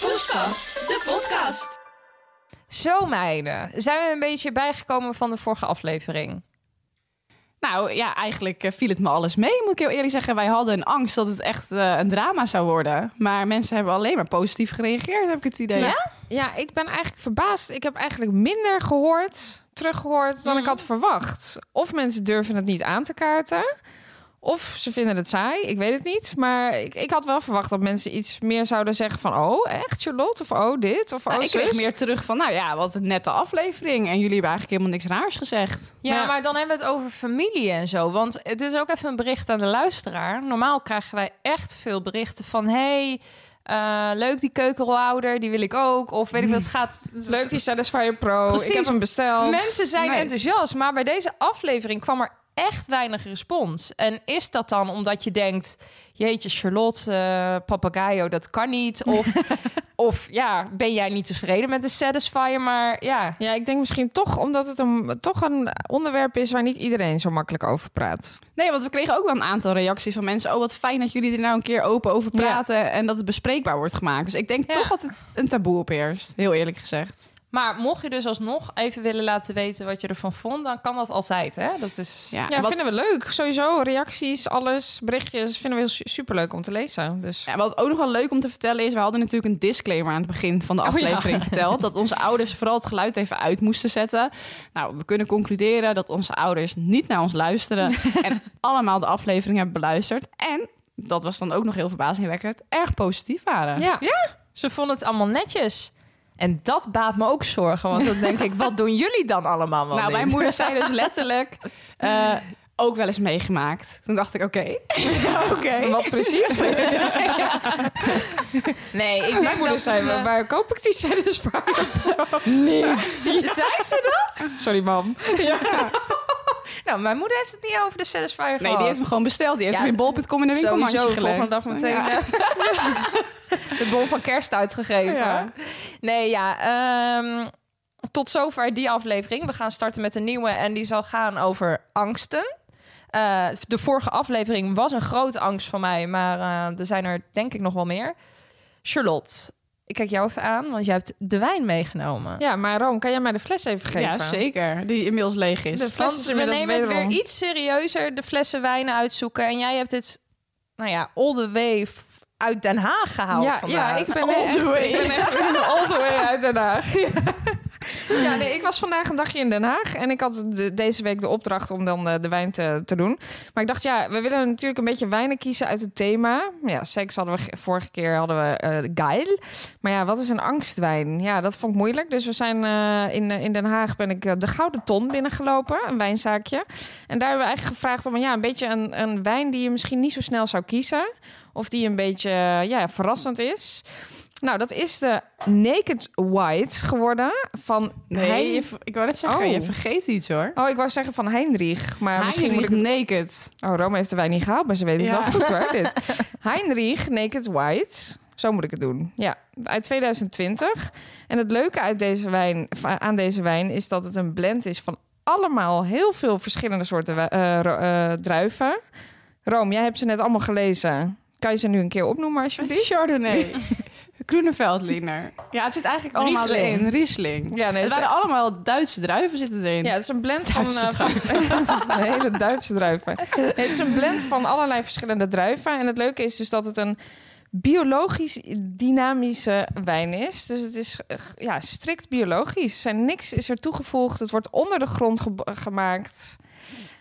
Poespas, de podcast. Zo meiden, zijn we een beetje bijgekomen van de vorige aflevering? Nou ja, eigenlijk eh, viel het me alles mee, moet ik heel eerlijk zeggen. Wij hadden een angst dat het echt eh, een drama zou worden. Maar mensen hebben alleen maar positief gereageerd, heb ik het idee. Ja? Ja, ik ben eigenlijk verbaasd. Ik heb eigenlijk minder gehoord, teruggehoord, dan ik had Mhm. verwacht. Of mensen durven het niet aan te kaarten. Of ze vinden het saai, ik weet het niet. Maar ik, ik had wel verwacht dat mensen iets meer zouden zeggen van... oh, echt Charlotte? Of oh, dit? Of Nou, oh, ik kreeg zus? meer terug van, nou ja, wat een nette aflevering. En jullie hebben eigenlijk helemaal niks raars gezegd. Ja, Ja. maar dan hebben we het over familie en zo. Want het is ook even een bericht aan de luisteraar. Normaal krijgen wij echt veel berichten van... hey, eh, leuk die keukenrouder, die wil ik ook. Of weet ik wat, het gaat... Leuk die Satisfyer Pro, Precies. Oh, ik heb hem besteld. Mensen zijn Nee. enthousiast, maar bij deze aflevering kwam er echt weinig respons. En is dat dan omdat je denkt, jeetje Charlotte, eh papagayo, dat kan niet. Of, of ja, ben jij niet tevreden met de Satisfyer, maar ja... Ja, ik denk misschien toch omdat het een, toch een onderwerp is... waar niet iedereen zo makkelijk over praat. Nee, want we kregen ook wel een aantal reacties van mensen. Oh, wat fijn dat jullie er nou een keer open over praten. En dat het bespreekbaar wordt gemaakt. Dus ik denk Ja. toch dat het een taboe opheerst, heel eerlijk gezegd. Maar mocht je dus alsnog even willen laten weten wat je ervan vond, dan kan dat altijd, hè? Dat is... Ja, Ja, en wat- vinden we leuk. Sowieso, reacties, alles, berichtjes... vinden we heel su- superleuk om te lezen. Dus... Ja, wat ook nog wel leuk om te vertellen is, we hadden natuurlijk een disclaimer aan het begin van de Oh ja. aflevering verteld. Dat onze ouders vooral het geluid even uit moesten zetten. Nou, we kunnen concluderen dat onze ouders niet naar ons luisteren. en allemaal de aflevering hebben beluisterd. En, dat was dan ook nog heel verbazingwekkend, erg positief waren. Ja. Ze vonden het allemaal netjes. En dat baat me ook zorgen, want dan denk ik, wat doen jullie dan allemaal wel nou, mijn niet? moeder zei dus letterlijk... eh, ook wel eens meegemaakt. Toen dacht ik, oké. oké. Wat precies? Nee, ik Mijn denk moeder dat zei, het, "Waar- eh, waar koop ik die satisfier Niets. Zei ze dat? Sorry, mam. Nou, mijn moeder heeft het niet over de Satisfyer gehad. Nee, die heeft hem gewoon besteld. Die heeft Oh. Ja, hem in bol.com in een winkelmandje Sowieso, gelegd. volgende dag meteen Ja. eh, de bol van kerst uitgegeven. Ja. Nee, ja. ehm, tot zover die aflevering. We gaan starten met een nieuwe en die zal gaan over angsten. Eh, de vorige aflevering was een grote angst van mij, maar eh, er zijn er denk ik nog wel meer. Charlotte, ik kijk jou even aan, want jij hebt de wijn meegenomen. Ja, maar Room, kan jij mij de fles even geven? Ja, zeker. Die inmiddels leeg is. De fles is Want we inmiddels nemen het weer wederom- iets serieuzer, de flessen wijnen uitzoeken. En jij hebt dit, nou ja, all the way f- uit Den Haag gehaald Ja, vandaag. ja, ik ben All echt, the way. ik ben echt all the way uit Den Haag. Ja. Ja, nee, ik was vandaag een dagje in Den Haag en ik had de- deze week de opdracht om dan eh, de wijn te, te doen. Maar ik dacht, ja, we willen natuurlijk een beetje wijnen kiezen uit het thema. Ja, seks hadden we ge- vorige keer hadden we eh geil. Maar ja, wat is een angstwijn? Ja, dat vond ik moeilijk. Dus we zijn eh, in, eh, in Den Haag ben ik eh, de Gouden Ton binnengelopen, een wijnzaakje. En daar hebben we eigenlijk gevraagd om ja, een beetje een, een wijn die je misschien niet zo snel zou kiezen. Of die een beetje eh, ja, verrassend is. Nou, dat is de Naked White geworden van Nee, Hein- je ver- ik wou net zeggen, Oh. je vergeet iets hoor. Oh, ik wou zeggen van Heinrich, maar misschien moet ik het... naked. Oh, Rome heeft de wijn niet gehaald, maar ze weten Ja. het wel goed hoor, dit. Heinrich Naked White, zo moet ik het doen. Ja, uit 2020. En het leuke uit deze wijn, of aan deze wijn is dat het een blend is van allemaal heel veel verschillende soorten wij- eh, ro- eh, druiven. Rome, jij hebt ze net allemaal gelezen. Kan je ze nu een keer opnoemen alsjeblieft? Chardonnay. Groeneveldliner. Ja, het zit eigenlijk allemaal Riesling. in. Riesling. Ja, nee, het het waren allemaal Duitse druiven zitten erin. Ja, het is een blend van, Duitse eh, van, van hele Duitse druiven. Nee, het is een blend van allerlei verschillende druiven. En het leuke is dus dat het een biologisch dynamische wijn is. Dus het is eh, ja, strikt biologisch. En niks is er toegevoegd. Het wordt onder de grond ge- gemaakt.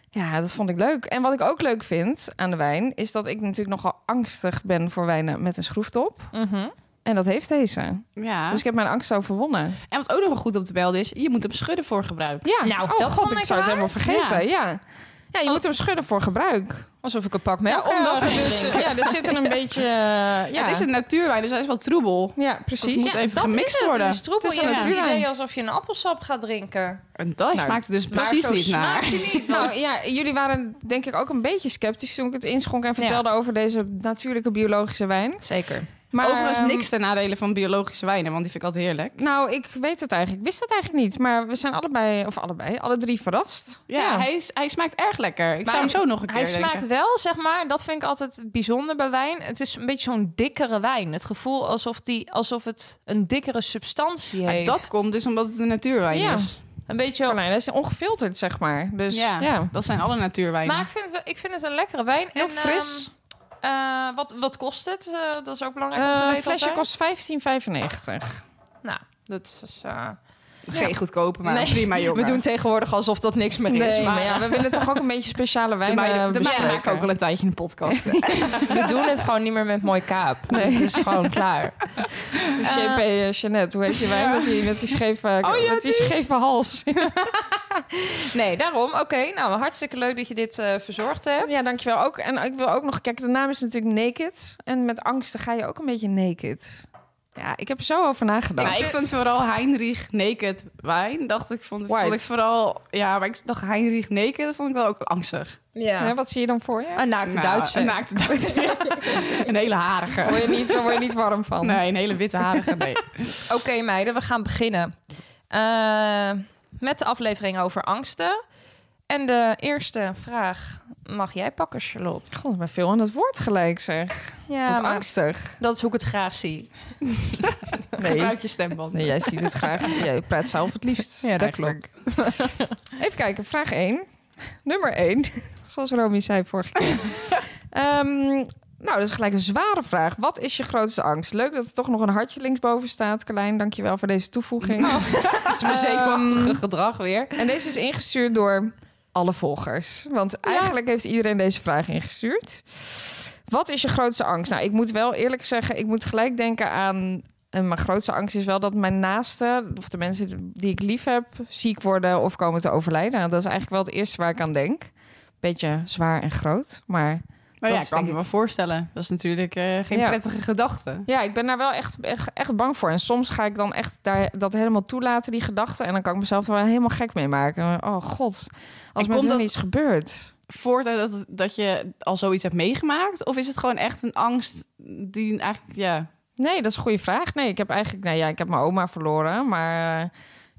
Ja, dat vond ik leuk. En wat ik ook leuk vind aan de wijn... is dat ik natuurlijk nogal angstig ben voor wijnen met een schroeftop. Mhm. En dat heeft deze. Ja. Dus ik heb mijn angst overwonnen. En wat ook nog wel goed op de bel is, je moet hem schudden voor gebruik. Ja, Nou, oh dat god, vond ik ik zou het raar. helemaal vergeten. Ja. Ja, je moet hem schudden voor gebruik. Alsof ik een pak melk Ja, omdat er eh, dus... drink. Ja, er zit er een beetje... eh, ja. Het is een natuurwijn, dus hij is wel troebel. ja, Het precies. moet even dat gemixt is het. worden. Het is troebel. Het is je een hebt het natuurwijn. idee alsof je een appelsap gaat drinken. En dat smaakt het dus Maar precies zo niet smaakt naar. die niet. want- Nou ja, jullie waren denk ik ook een beetje sceptisch toen ik het inschonk en vertelde over deze natuurlijke biologische wijn. Zeker. Maar, Overigens ehm, niks ten nadele van biologische wijnen, want die vind ik altijd heerlijk. Nou, ik weet het eigenlijk. Ik wist dat eigenlijk niet. Maar we zijn allebei, of allebei, alle drie verrast. Ja, Hij, is- hij smaakt erg lekker. Ik Maar zou hem zo nog een keer Hij drinken. smaakt wel, zeg maar, dat vind ik altijd bijzonder bij wijn. Het is een beetje zo'n dikkere wijn. Het gevoel alsof, die, alsof het een dikkere substantie Maar heeft. dat komt dus omdat het een natuurwijn Ja. is. Een beetje... Carlijn, dat is ongefilterd, zeg maar. Dus ja, Ja, dat zijn alle natuurwijnen. Maar ik vind, het, wel- ik vind het een lekkere wijn. heel en, fris. ehm, eh, wat, wat kost het? Eh, dat is ook belangrijk om te Eh, weten. Een flesje altijd. kost 15,95. Nou, dat is... eh, Geen goedkope, maar Nee. prima jongen. we doen tegenwoordig alsof dat niks meer is. Nee, maar eh, ja, we willen toch ook een beetje speciale de wijnen meiden, de meiden bespreken. maken ook al een tijdje een podcast. we doen het gewoon niet meer met mooi kaap. Dus, Nee. Het is gewoon klaar. JP eh, Jeannette, hoe heet je wijn? Met die, met die scheve, Oh, ja, met die scheve hals. Nee, daarom. Oké, nou hartstikke leuk dat je dit eh, verzorgd hebt. Ja, dankjewel. Ook, en ik wil ook nog... Kijk, de naam is natuurlijk Naked. En met angsten ga je ook een beetje naked. Ja, ik heb er zo over nagedacht. Maar Nou, ik vond vooral Heinrich Naked Wijn, dacht ik, vond, White. vond ik vooral... Ja, maar ik dacht Heinrich Naked, dat vond ik wel ook angstig. Ja. Ja, wat zie je dan voor je? Een naakte Nou, Duitse. Een naakte Duitse. een hele harige. Word je niet, daar word je niet warm van. Nee, een hele witte harige, nee. Oké meiden, we gaan beginnen. Eh, met de aflevering over angsten. En de eerste vraag mag jij pakken, Charlotte. God, maar veel aan het woord gelijk zeg. Ja, Wat angstig. dat is hoe ik het graag zie. Nee. Gebruik je stemband. nee, jij ziet het graag. Jij praat zelf het liefst. Ja, dat klopt. Even kijken, vraag 1. Nummer 1. Zoals Romy zei vorige keer. Ehm, nou, dat is gelijk een zware vraag. Wat is je grootste angst? Leuk dat er toch nog een hartje linksboven staat. Carlijn, dankjewel voor deze toevoeging. Dat is mijn zenuwachtige gedrag weer. En deze is ingestuurd door alle volgers. Want eigenlijk heeft iedereen deze vraag ingestuurd. Wat is je grootste angst? Nou, ik moet wel eerlijk zeggen, ik moet gelijk denken aan. En mijn grootste angst is wel dat mijn naasten, of de mensen die ik lief heb, ziek worden of komen te overlijden. Nou, dat is eigenlijk wel het eerste waar ik aan denk. Beetje zwaar en groot. Maar Nou Dat ja, ik is kan denk ik- me wel voorstellen. Dat is natuurlijk eh, geen Ja. prettige gedachte. ja, ik ben daar wel echt, echt, echt bang voor. En soms ga ik dan echt daar, dat helemaal toelaten, die gedachten. En dan kan ik mezelf er wel helemaal gek mee maken. Oh god, als komt me dan dat- iets gebeurt. Voort uit dat, dat je al zoiets hebt meegemaakt? Of is het gewoon echt een angst die eigenlijk... Ja, Nee, dat is een goede vraag. Nee, ik heb eigenlijk, nou ja, ik heb mijn oma verloren, maar eh,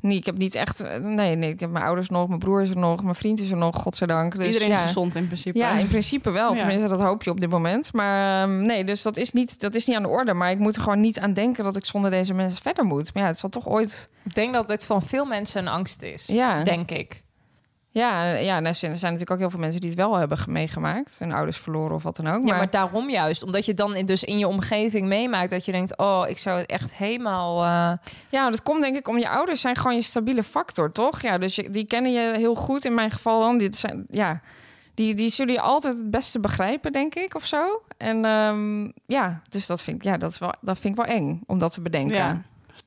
nee, ik heb niet echt, eh, nee, nee, ik heb mijn ouders nog, mijn broer is er nog, mijn vriend is er nog, godzijdank. Dus, iedereen ja. is gezond in principe. Ja, in principe wel. Ja. Tenminste, dat hoop je op dit moment. Maar ehm, nee, dus dat is, niet, dat is niet aan de orde. Maar ik moet er gewoon niet aan denken dat ik zonder deze mensen verder moet. Maar ja, het zal toch ooit... Ik denk dat dit van veel mensen een angst is. Ja. Denk ik. Ja, ja nou, er zijn natuurlijk ook heel veel mensen die het wel hebben ge- meegemaakt. Hun ouders verloren of wat dan ook. Ja, maar daarom juist. Omdat je dan in- dus in je omgeving meemaakt dat je denkt... oh, ik zou het echt helemaal... eh, Ja, dat komt denk ik om je ouders zijn gewoon je stabiele factor, toch? Ja, dus je, die kennen je heel goed in mijn geval dan. Dit zijn, ja, die, die zullen je altijd het beste begrijpen, denk ik, of zo. En ehm, ja, dus dat vind, ik, ja, dat, is wel, dat vind ik wel eng om dat te bedenken. Ja.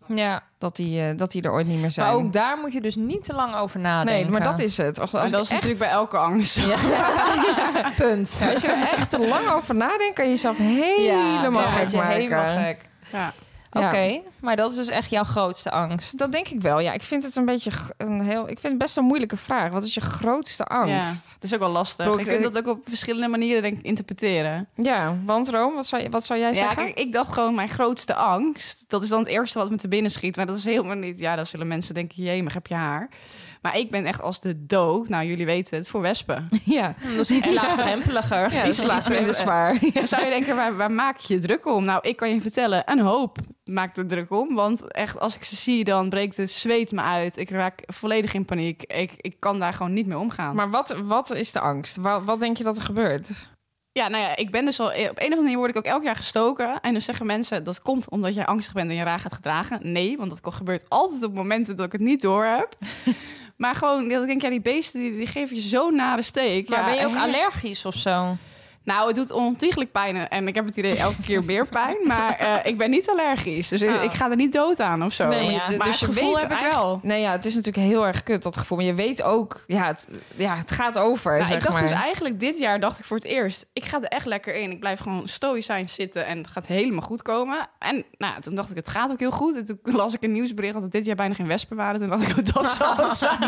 ja. Dat, die, eh, dat die er ooit niet meer zijn. Maar ook daar moet je dus niet te lang over nadenken. nee, maar dat is het. Als, als Maar ik dat is echt- natuurlijk bij elke angst. punt. Als je er echt te lang over nadenkt, kan je jezelf helemaal dan gek word je maken. helemaal gek. Ja. Oké, Ja. maar dat is dus echt jouw grootste angst. Dus Dat denk ik wel. Ja, ik vind het een beetje g- een heel. Ik vind het best een moeilijke vraag. Wat is je grootste angst? Ja, het is ook wel lastig. Broek, eh, je kunt dat ook op verschillende manieren denk ik, interpreteren. Ja, want Room, wat zou, wat zou jij ja, zeggen? kijk, ik dacht gewoon mijn grootste angst. Dat is dan het eerste wat me te binnen schiet. Maar dat is helemaal niet... Ja, dan zullen mensen denken, jee, maar heb je haar? Maar ik ben echt als de dood... Nou, jullie weten het, voor wespen. Ja, Hmm, Dat is iets laagdrempeliger. ja iets dat is iets laten minder we- zwaar. Dan zou je denken, waar, waar maak je je druk om? Nou, ik kan je vertellen, een hoop maakt er druk om. Want echt, als ik ze zie, dan breekt het zweet me uit. Ik raak volledig in paniek. Ik, ik kan daar gewoon niet mee omgaan. Maar wat, wat is de angst? Wat, wat denk je dat er gebeurt? Ja, nou ja, ik ben dus al... Op een of andere manier word ik ook elk jaar gestoken. En dan zeggen mensen, dat komt omdat jij angstig bent en je raar gaat gedragen. Nee, want dat ko- gebeurt altijd op momenten dat ik het niet door heb. maar gewoon, dat ik denk, ja, die beesten die, die geven je zo'n nare steek. Maar ja, ben je ook hè? allergisch of zo? Nou, het doet ontiegelijk pijn. En ik heb het idee elke keer meer pijn. Maar eh, ik ben niet allergisch. Dus ik- Oh. ik ga er niet dood aan of zo. Nee, maar ja. Dus d- het gevoel heb ik eigenlijk- wel. Nee, ja, het is natuurlijk heel erg kut, dat gevoel. Maar je weet ook, ja, het, ja, het gaat over, Nou, zeg ik dacht maar. dus eigenlijk dit jaar dacht ik voor het eerst... ik ga er echt lekker in. Ik blijf gewoon stoïcijns zitten en het gaat helemaal goed komen. En nou, toen dacht ik, het gaat ook heel goed. En toen las ik een nieuwsbericht dat er dit jaar bijna geen wespen waren. Toen dacht ik, oh, dat zal het zijn.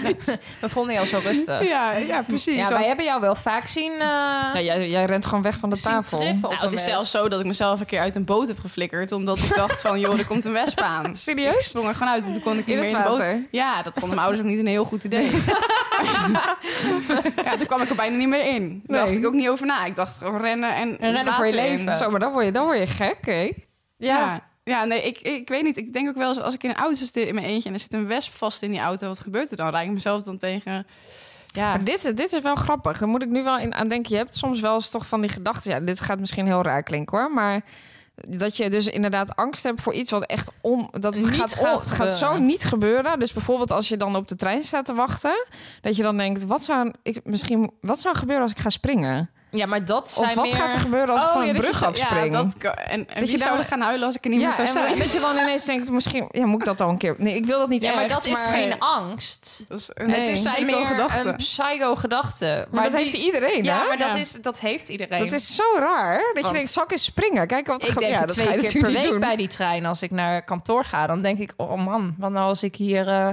We vonden jou zo rustig. ja, ja, precies. Ja, Want- wij hebben jou wel vaak zien. eh, Ja, jij, jij rent gewoon weg van de zien tafel. trippen op nou, het een is mes. zelfs zo dat ik mezelf een keer uit een boot heb geflikkerd... omdat ik dacht van, joh, er komt een wesp aan. Ik Serieus? sprong er gewoon uit en toen kon ik niet In meer het in de boot. water? Ja, dat vonden mijn ouders ook niet een heel goed idee. ja, toen kwam ik er bijna niet meer in. Daar dacht Nee. ik ook niet over na. Ik dacht gewoon rennen en het rennen voor je water in. leven. Zo, maar dan word je, dan word je gek, hè? Ja. Ja, nee, ik, ik weet niet. Ik denk ook wel eens als ik in een auto zit in mijn eentje en er zit een wesp vast in die auto, wat gebeurt er dan? Rijd ik mezelf dan tegen. Ja, Maar dit, dit is wel grappig. Daar moet ik nu wel in aan denken. Je hebt soms wel eens toch van die gedachten. Ja, dit gaat misschien heel raar klinken hoor. Maar dat je dus inderdaad angst hebt voor iets wat echt om. Dat Niet gaat, gaat on- gaat zo gebeuren. niet gebeuren. Dus bijvoorbeeld als je dan op de trein staat te wachten. Dat je dan denkt: wat zou, ik, misschien, wat zou gebeuren als ik ga springen? Ja, maar dat zijn of wat meer... gaat er gebeuren als ik van Oh, ja, een dat je brug zo- afspring? Ja, dat, kan- en en Dat wie je zou dan- er gaan huilen als ik er niet meer Ja, zou en, zijn? dat je dan ineens denkt: misschien ja, moet ik dat al een keer. Nee, ik wil dat niet Ja, maar echt, dat is geen angst. Dat is Nee. het is Het is meer psycho-gedachte. een psycho-gedachte. Maar dat die- heeft iedereen, Ja, hè? maar dat, Ja. is, dat heeft iedereen. Dat is zo raar. Dat je Want- denkt, zal ik eens springen? Kijk wat er ik ge- denk ja, het dat twee ga je keer per natuurlijk week niet doen. bij die trein als ik naar kantoor ga. Dan denk ik, oh man, wat nou als ik hier eh,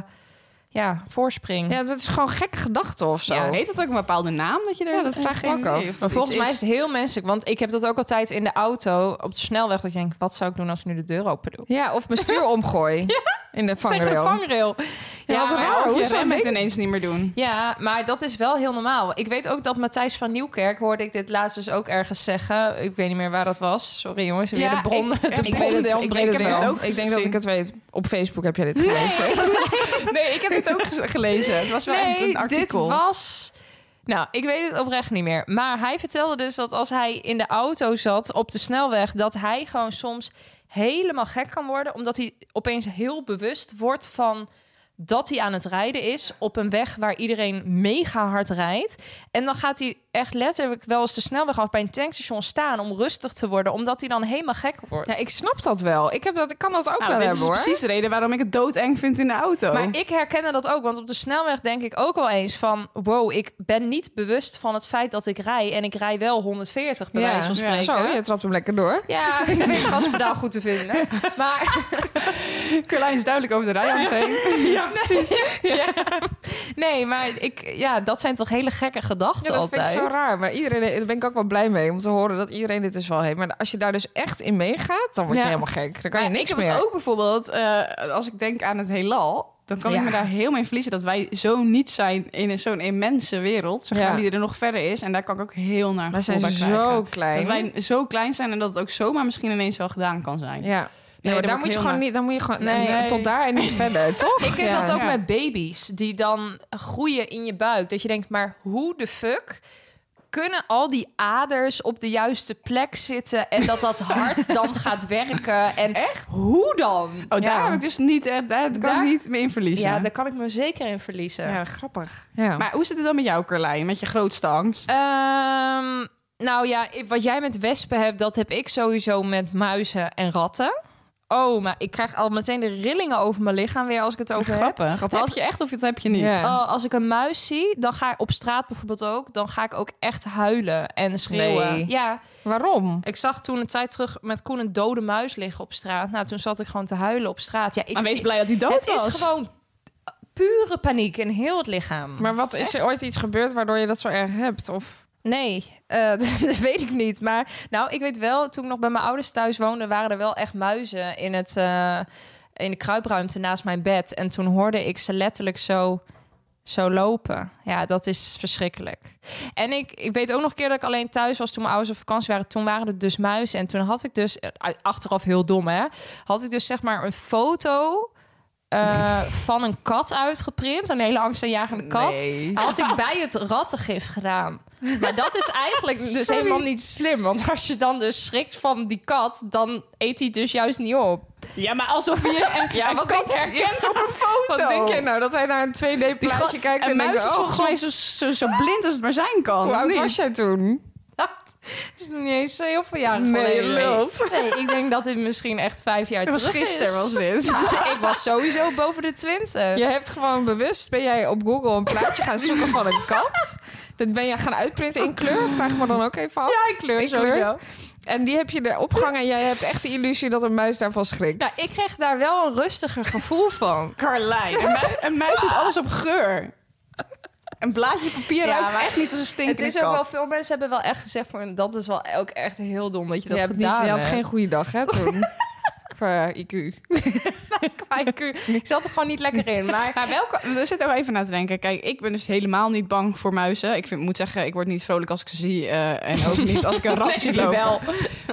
ja, voorspring? Ja, dat is gewoon gekke gedachten of zo. Ja, heet dat ook een bepaalde naam dat je daar Ja, dat vraag ik me ook af. of dat Maar volgens iets mij is het heel menselijk. Want ik heb dat ook altijd in de auto op de snelweg. Dat je denkt, wat zou ik doen als ik nu de deur open doe? Ja, of mijn stuur omgooi in de Tegen de vangrail. vangrail. Ja, wat maar- raar. hoe Oh, hoe zou zou dat het ik- ineens niet meer doen? Ja, maar dat is wel heel normaal. Ik weet ook dat Matthijs van Nieuwkerk, hoorde ik dit laatst dus ook ergens zeggen. Ik weet niet meer waar dat was. Sorry jongens, weer Ja, de bron. ik- de ik bron ik weet het, die ik weet ontbreekt het heb wel. het ook ik denk dat gezien. ik het weet. Op Facebook heb jij dit gelezen. Nee, ik heb het ook gez- gelezen. Het was wel nee, een, een artikel. dit was... Nou, ik weet het oprecht niet meer. Maar hij vertelde dus dat als hij in de auto zat op de snelweg... dat hij gewoon soms helemaal gek kan worden... omdat hij opeens heel bewust wordt van dat hij aan het rijden is... op een weg waar iedereen mega hard rijdt. En dan gaat hij echt letterlijk wel eens de snelweg af... bij een tankstation staan om rustig te worden... omdat hij dan helemaal gek wordt. Ja, ik snap dat wel. Ik, heb dat, ik kan dat ook nou, wel dit hebben is hoor. precies de reden waarom ik het doodeng vind in de auto. Maar ik herken dat ook, want op de snelweg denk ik ook wel eens van... wow, ik ben niet bewust van het feit dat ik rij... en ik rij wel 140, bij Ja. wijze van Ja. spreken. Zo, je trapt hem lekker door. Ja, ik weet het gaspedaal goed te vinden. Maar Carlijn is duidelijk over de rij heen. nee, maar ik, ja, dat zijn toch hele gekke gedachten Ja, dat altijd. vind ik zo raar. Maar iedereen, daar ben ik ook wel blij mee om te horen dat iedereen dit dus wel heeft. Maar als je daar dus echt in meegaat, dan word je Ja. helemaal gek. Dan kan je Maar niks ik heb meer. het ook bijvoorbeeld, eh, als ik denk aan het heelal... dan kan Ja. ik me daar helemaal in verliezen dat wij zo niet zijn... in een- zo'n immense wereld, zeg maar, Ja. die er nog verder is. En daar kan ik ook heel naar Wij gevoel zijn bij krijgen. zo klein. Dat wij zo klein zijn en dat het ook zomaar misschien ineens wel gedaan kan zijn. Ja. Nee, daar maar word daar ik moet je heel gewoon naar- niet. Dan moet je gewoon Nee. nee. tot daar en niet verder, toch? Ik heb Ja. dat ook Ja. met baby's die dan groeien in je buik. Dat je denkt, maar hoe de fuck kunnen al die aders op de juiste plek zitten en dat dat hart dan gaat werken? En echt? Hoe dan? Oh, daar Ja. heb ik dus niet, eh, daar kan Daar- ik niet mee in verliezen. Ja, daar kan ik me zeker in verliezen. Ja, grappig. Ja. Maar hoe zit het dan met jou, Carlijn? Met je grootste angst? Ehm, nou ja, ik- wat jij met wespen hebt, dat heb ik sowieso met muizen en ratten. Oh, maar ik krijg al meteen de rillingen over mijn lichaam weer als ik het over heb. Grappig. Dat heb Als- je echt of dat heb je niet? Ja. Oh, als ik een muis zie, dan ga ik op straat bijvoorbeeld ook, dan ga ik ook echt huilen en schreeuwen. Nee. Ja, Waarom? ik zag toen een tijd terug met Koen een dode muis liggen op straat. Nou, toen zat ik gewoon te huilen op straat. Ja, ik, maar wees blij dat hij dood het was. is gewoon pure paniek in heel het lichaam. Maar wat is er ooit iets gebeurd waardoor je dat zo erg hebt? Of Nee, eh, dat weet ik niet. Maar nou, ik weet wel, toen ik nog bij mijn ouders thuis woonde, waren er wel echt muizen in, het, eh, in de kruipruimte naast mijn bed. En toen hoorde ik ze letterlijk zo, zo lopen. Ja, dat is verschrikkelijk. En ik, ik weet ook nog een keer dat ik alleen thuis was toen mijn ouders op vakantie waren. Toen waren er dus muizen. En toen had ik dus, eh, achteraf heel dom hè, had ik dus zeg maar een foto... eh, van een kat uitgeprint, een hele angstaanjagende kat. Had ik bij het rattengif gedaan. Maar dat is eigenlijk dus helemaal niet slim. Want als je dan dus schrikt van die kat, dan eet hij het dus juist niet op. Ja, maar alsof je een, Ja, een wat kat denk- herkent op een foto. wat denk je nou dat hij naar een 2D-plaatje kijkt Een en denkt: muis is Oh, volgens mij zo, god, zo, zo blind als het maar zijn kan. hoe of oud niet? was jij toen? is nog niet eens heel veel jaren Nee, geleden. lult. Nee, ik denk dat dit misschien echt vijf jaar Het was terug gisteren is. was dit. ik was sowieso boven de twintig. Je hebt gewoon bewust, ben jij op Google een plaatje gaan zoeken van een kat. Dat ben je gaan uitprinten in kleur. Vraag me dan ook even af. Ja, in kleur sowieso. En die heb je er opgehangen en jij hebt echt de illusie dat een muis daarvan schrikt. Nou, ik kreeg daar wel een rustiger gevoel van. Carlijn. Een, mui- een muis doet alles op geur. Een blaadje papier Ja, ruikt maar echt niet als een Het stinkende is ook kat. wel, veel mensen hebben wel echt gezegd van, dat is wel ook echt heel dom dat je je, dat hebt niet, gedaan je had hebt. geen goede dag, hè, toen. Qua IQ. Maar ik- Ik zat er gewoon niet lekker in. Maar Maar welke, we zitten ook even na te denken. Kijk, ik ben dus helemaal niet bang voor muizen. Ik vind, moet zeggen, ik word niet vrolijk als ik ze zie. eh, en ook niet als ik een rat zie Nee, lopen. wel.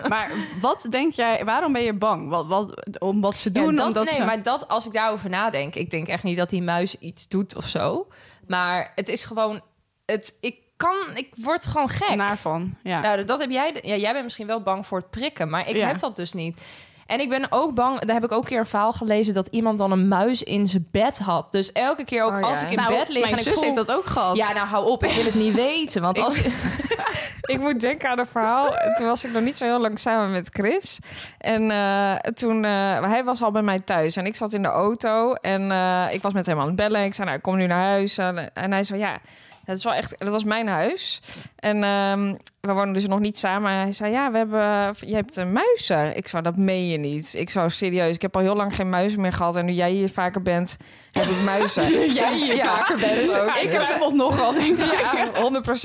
Maar wat denk jij, waarom ben je bang? Wat, wat, om wat ze doen? Ja, dat, omdat nee, ze... maar dat als ik daarover nadenk, ik denk echt niet dat die muis iets doet of zo. Maar het is gewoon, het, ik kan, ik word gewoon gek. Naar van, ja. Nou, dat heb jij. Ja, jij bent misschien wel bang voor het prikken, maar ik Ja. heb dat dus niet. En ik ben ook bang, daar heb ik ook een keer een verhaal gelezen dat iemand dan een muis in zijn bed had. Dus elke keer ook Oh, ja. als ik in Nou, bed lig mijn en ik zus voel- heeft dat ook gehad. Ja, nou hou op, ik wil het niet weten. Want als ik moet denken aan een verhaal. Toen was ik nog niet zo heel lang samen met Chris. En eh, toen, eh, hij was al bij mij thuis en ik zat in de auto en eh, ik was met hem aan het bellen. Ik zei, nou, ik kom nu naar huis. En, en hij zei, ja, dat is wel echt, dat was mijn huis. En ehm, we wonen dus nog niet samen. Hij zei, ja, we hebben, je hebt een muizen. Ik zou dat meen je niet. Ik zou serieus, ik heb al heel lang geen muizen meer gehad en nu jij hier vaker bent, heb ik muizen. nu jij hier vaker bent ook. Ik ik was heb nogal, denk ik. ja,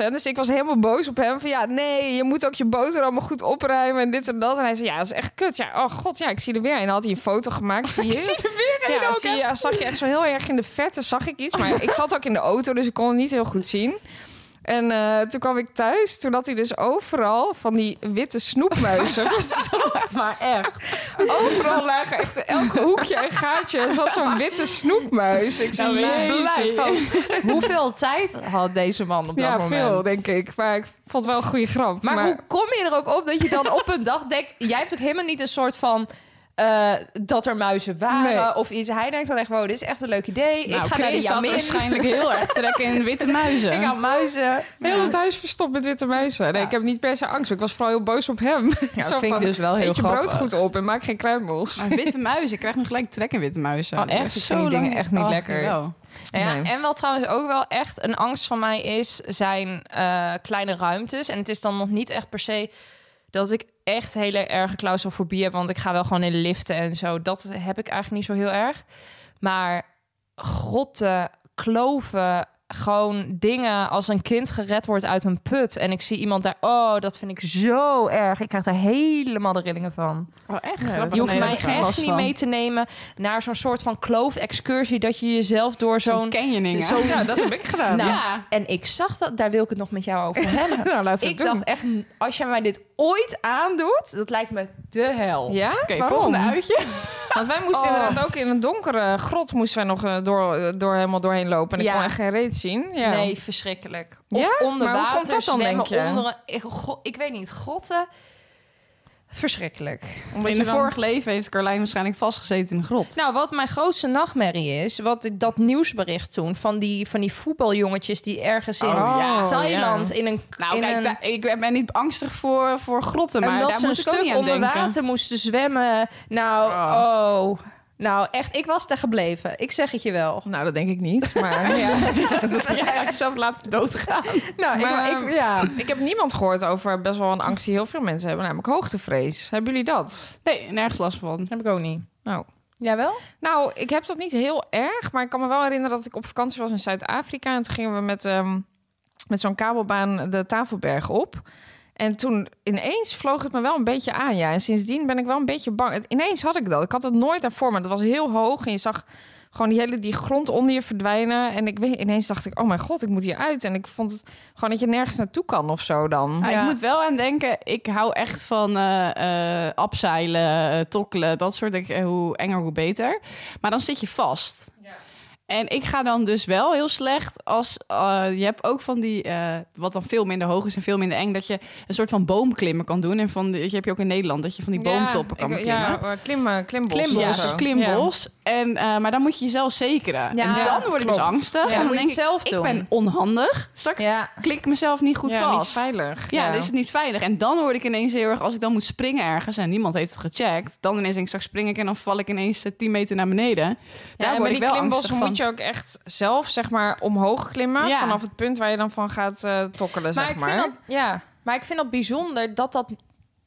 100%. Dus ik was helemaal boos op hem. Van ja, nee, je moet ook je boterhammen goed opruimen en dit en dat. En hij zei, ja, dat is echt kut. Ja, oh god, ja, ik zie er weer. een. En dan had hij een foto gemaakt. Zie je? een Ja, ook, zie je, ja, zag je echt zo heel erg in de verte, zag ik iets. Maar ik zat ook in de auto, dus ik kon het niet heel goed zien. En eh, toen kwam ik thuis, toen had hij dus overal van die witte snoepmuizen verstopt. Maar echt. Overal lagen echt elke hoekje en gaatje zat zo'n witte snoepmuis. Ik Nou, zei, wees blij. Jezus, schat. hoeveel tijd had deze man op dat Ja, moment? veel, denk ik. Maar ik vond het wel een goede grap. Maar, hoe kom je er ook op dat je dan op een dag denkt... Jij hebt ook helemaal niet een soort van... eh, dat er muizen waren Nee. Nou, of iets. Hij denkt dan echt, wow, dit is echt een leuk idee. ik ga naar de had Jamin. waarschijnlijk heel erg trek in witte muizen. Ik hou muizen. heel het huis verstopt met witte muizen. Nee, ik heb niet per se angst. maar Ik was vooral heel boos op hem. dat Zo vind ik van, dus wel heel Eet je grappig. brood goed op en maak geen kruimels. Maar witte muizen, ik krijg nu gelijk trek in witte muizen. Oh, echt? Dat is Ik vind die dingen echt niet Oh, lekker. jawel. Nou ja, Nee. En wat trouwens ook wel echt een angst van mij is, zijn eh, kleine ruimtes. En het is dan nog niet echt per se dat ik echt hele erge claustrofobie heb. Want ik ga wel gewoon in liften en zo. Dat heb ik eigenlijk niet zo heel erg. Maar grotten, kloven, gewoon dingen als een kind gered wordt uit een put. En ik zie iemand daar, oh, dat vind ik zo erg. Ik krijg daar helemaal de rillingen van. Oh, echt? Je hoeft mij echt niet mee te nemen naar zo'n soort van kloof-excursie... dat je jezelf door zo'n... Ken je dingen? Zo, Ja, dat heb ik gedaan. nou, En ik zag dat, daar wil ik het nog met jou over hebben. Nou, laten we ik het doen. dacht echt, als jij mij dit ooit aandoet, dat lijkt me de hel. Ja? Oké, Waarom? volgende uitje. Want wij moesten Oh. inderdaad ook in een donkere grot moesten wij nog eh, door, eh, door helemaal doorheen lopen. En ik Ja. kon echt geen reet zien. Ja. Nee, verschrikkelijk. Of Ja? onder Maar hoe water, komt dat dan, zwemmen denk je? onder een- ik, go- ik weet niet, grotten. Verschrikkelijk. Omdat in je een dan- vorig leven heeft Carlijn waarschijnlijk vastgezeten in een grot. Nou, wat mijn grootste nachtmerrie is, wat ik- dat nieuwsbericht toen van die, van die voetbaljongetjes die ergens in Oh, ja. Thailand in een. Nou, in kijk, een- daar- ik ben niet angstig voor, voor grotten, maar en dat daar ze een moet ik ook stuk niet aan onder denken. water moesten zwemmen. Nou, oh. Nou, echt, ik was daar gebleven. Ik zeg het je wel. Nou, dat denk ik niet. Maar ja. Ja, zelf laten doodgaan. Nou, Maar, ik, ik, ja. ik heb niemand gehoord over best wel een angst die heel veel mensen hebben. Namelijk hoogtevrees. Hebben jullie dat? Nee, nergens last van. Heb ik ook niet. Nou. Jij wel? Nou, ik heb dat niet heel erg, maar ik kan me wel herinneren dat ik op vakantie was in Zuid-Afrika. En toen gingen we met, ehm, met zo'n kabelbaan de Tafelberg op. En toen ineens vloog het me wel een beetje aan. Ja, en sindsdien ben ik wel een beetje bang. Het- ineens had ik dat. Ik had het nooit daarvoor, maar dat was heel hoog. En je zag gewoon die hele die grond onder je verdwijnen. En ik weet, ineens dacht ik, oh mijn god, ik moet hier uit. En ik vond het gewoon dat je nergens naartoe kan of zo dan. Ah, Ja. Ik moet wel aan denken, ik hou echt van eh, eh, abseilen, eh, tokkelen, dat soort dingen. Hoe enger, hoe beter. Maar dan zit je vast. En ik ga dan dus wel heel slecht als eh, je hebt ook van die, eh, wat dan veel minder hoog is en veel minder eng, dat je een soort van boomklimmen kan doen. En van, die- je heb je ook in Nederland, dat je van die boomtoppen kan ik- beklimmen. Ja, eh, klim, eh, klimbos. Klimbos, of Ja, zo. zo'n klimbos. En, eh, maar dan moet je jezelf zekeren. Ja, en dan word ik dus klopt. angstig. Ja, en moet je dan denk het ik, zelf ik doen. ben onhandig. Straks Ja. klik ik mezelf niet goed Ja, vast. niet veilig. Ja, dus dan is het niet veilig. En dan word ik ineens heel erg, als ik dan moet springen ergens en niemand heeft het gecheckt, dan ineens denk ik, straks spring ik en dan val ik ineens eh, 10 meter naar beneden. Ja, Daar en word bij ik die wel klimbos angstig van. moet je ook echt zelf zeg maar omhoog klimmen. Ja. Vanaf het punt waar je dan van gaat eh, tokkelen, Maar zeg ik maar. vind dat, ja, maar ik vind dat bijzonder dat dat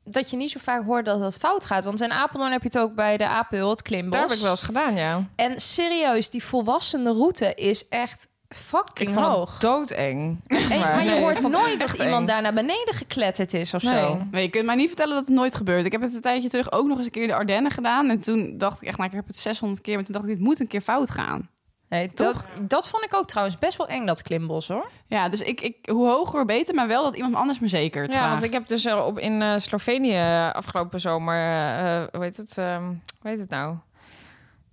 dat je niet zo vaak hoort dat dat fout gaat. Want in Apeldoorn heb je het ook bij de Apel, het klimbos. Daar heb ik wel eens gedaan, ja. En serieus, die volwassene route is echt fucking Ik vond het hoog. doodeng. En- maar je Nee, ik hoort vond het nooit dat echt iemand eng. daar naar beneden gekletterd is of Nee. zo. Nee, je kunt mij niet vertellen dat het nooit gebeurt. Ik heb het een tijdje terug ook nog eens een keer in de Ardennen gedaan. En toen dacht ik echt, nou, ik heb het 600 keer. Maar toen dacht ik, dit moet een keer fout gaan. Nee, dat, dat vond ik ook trouwens best wel eng, dat klimbos hoor. Ja, dus ik, ik, hoe hoger, hoe beter. Maar wel dat iemand anders me zekert. Ja, graag. want ik heb dus eh, op, in eh, Slovenië afgelopen zomer, eh, eh, hoe heet het, ehm, hoe heet het nou?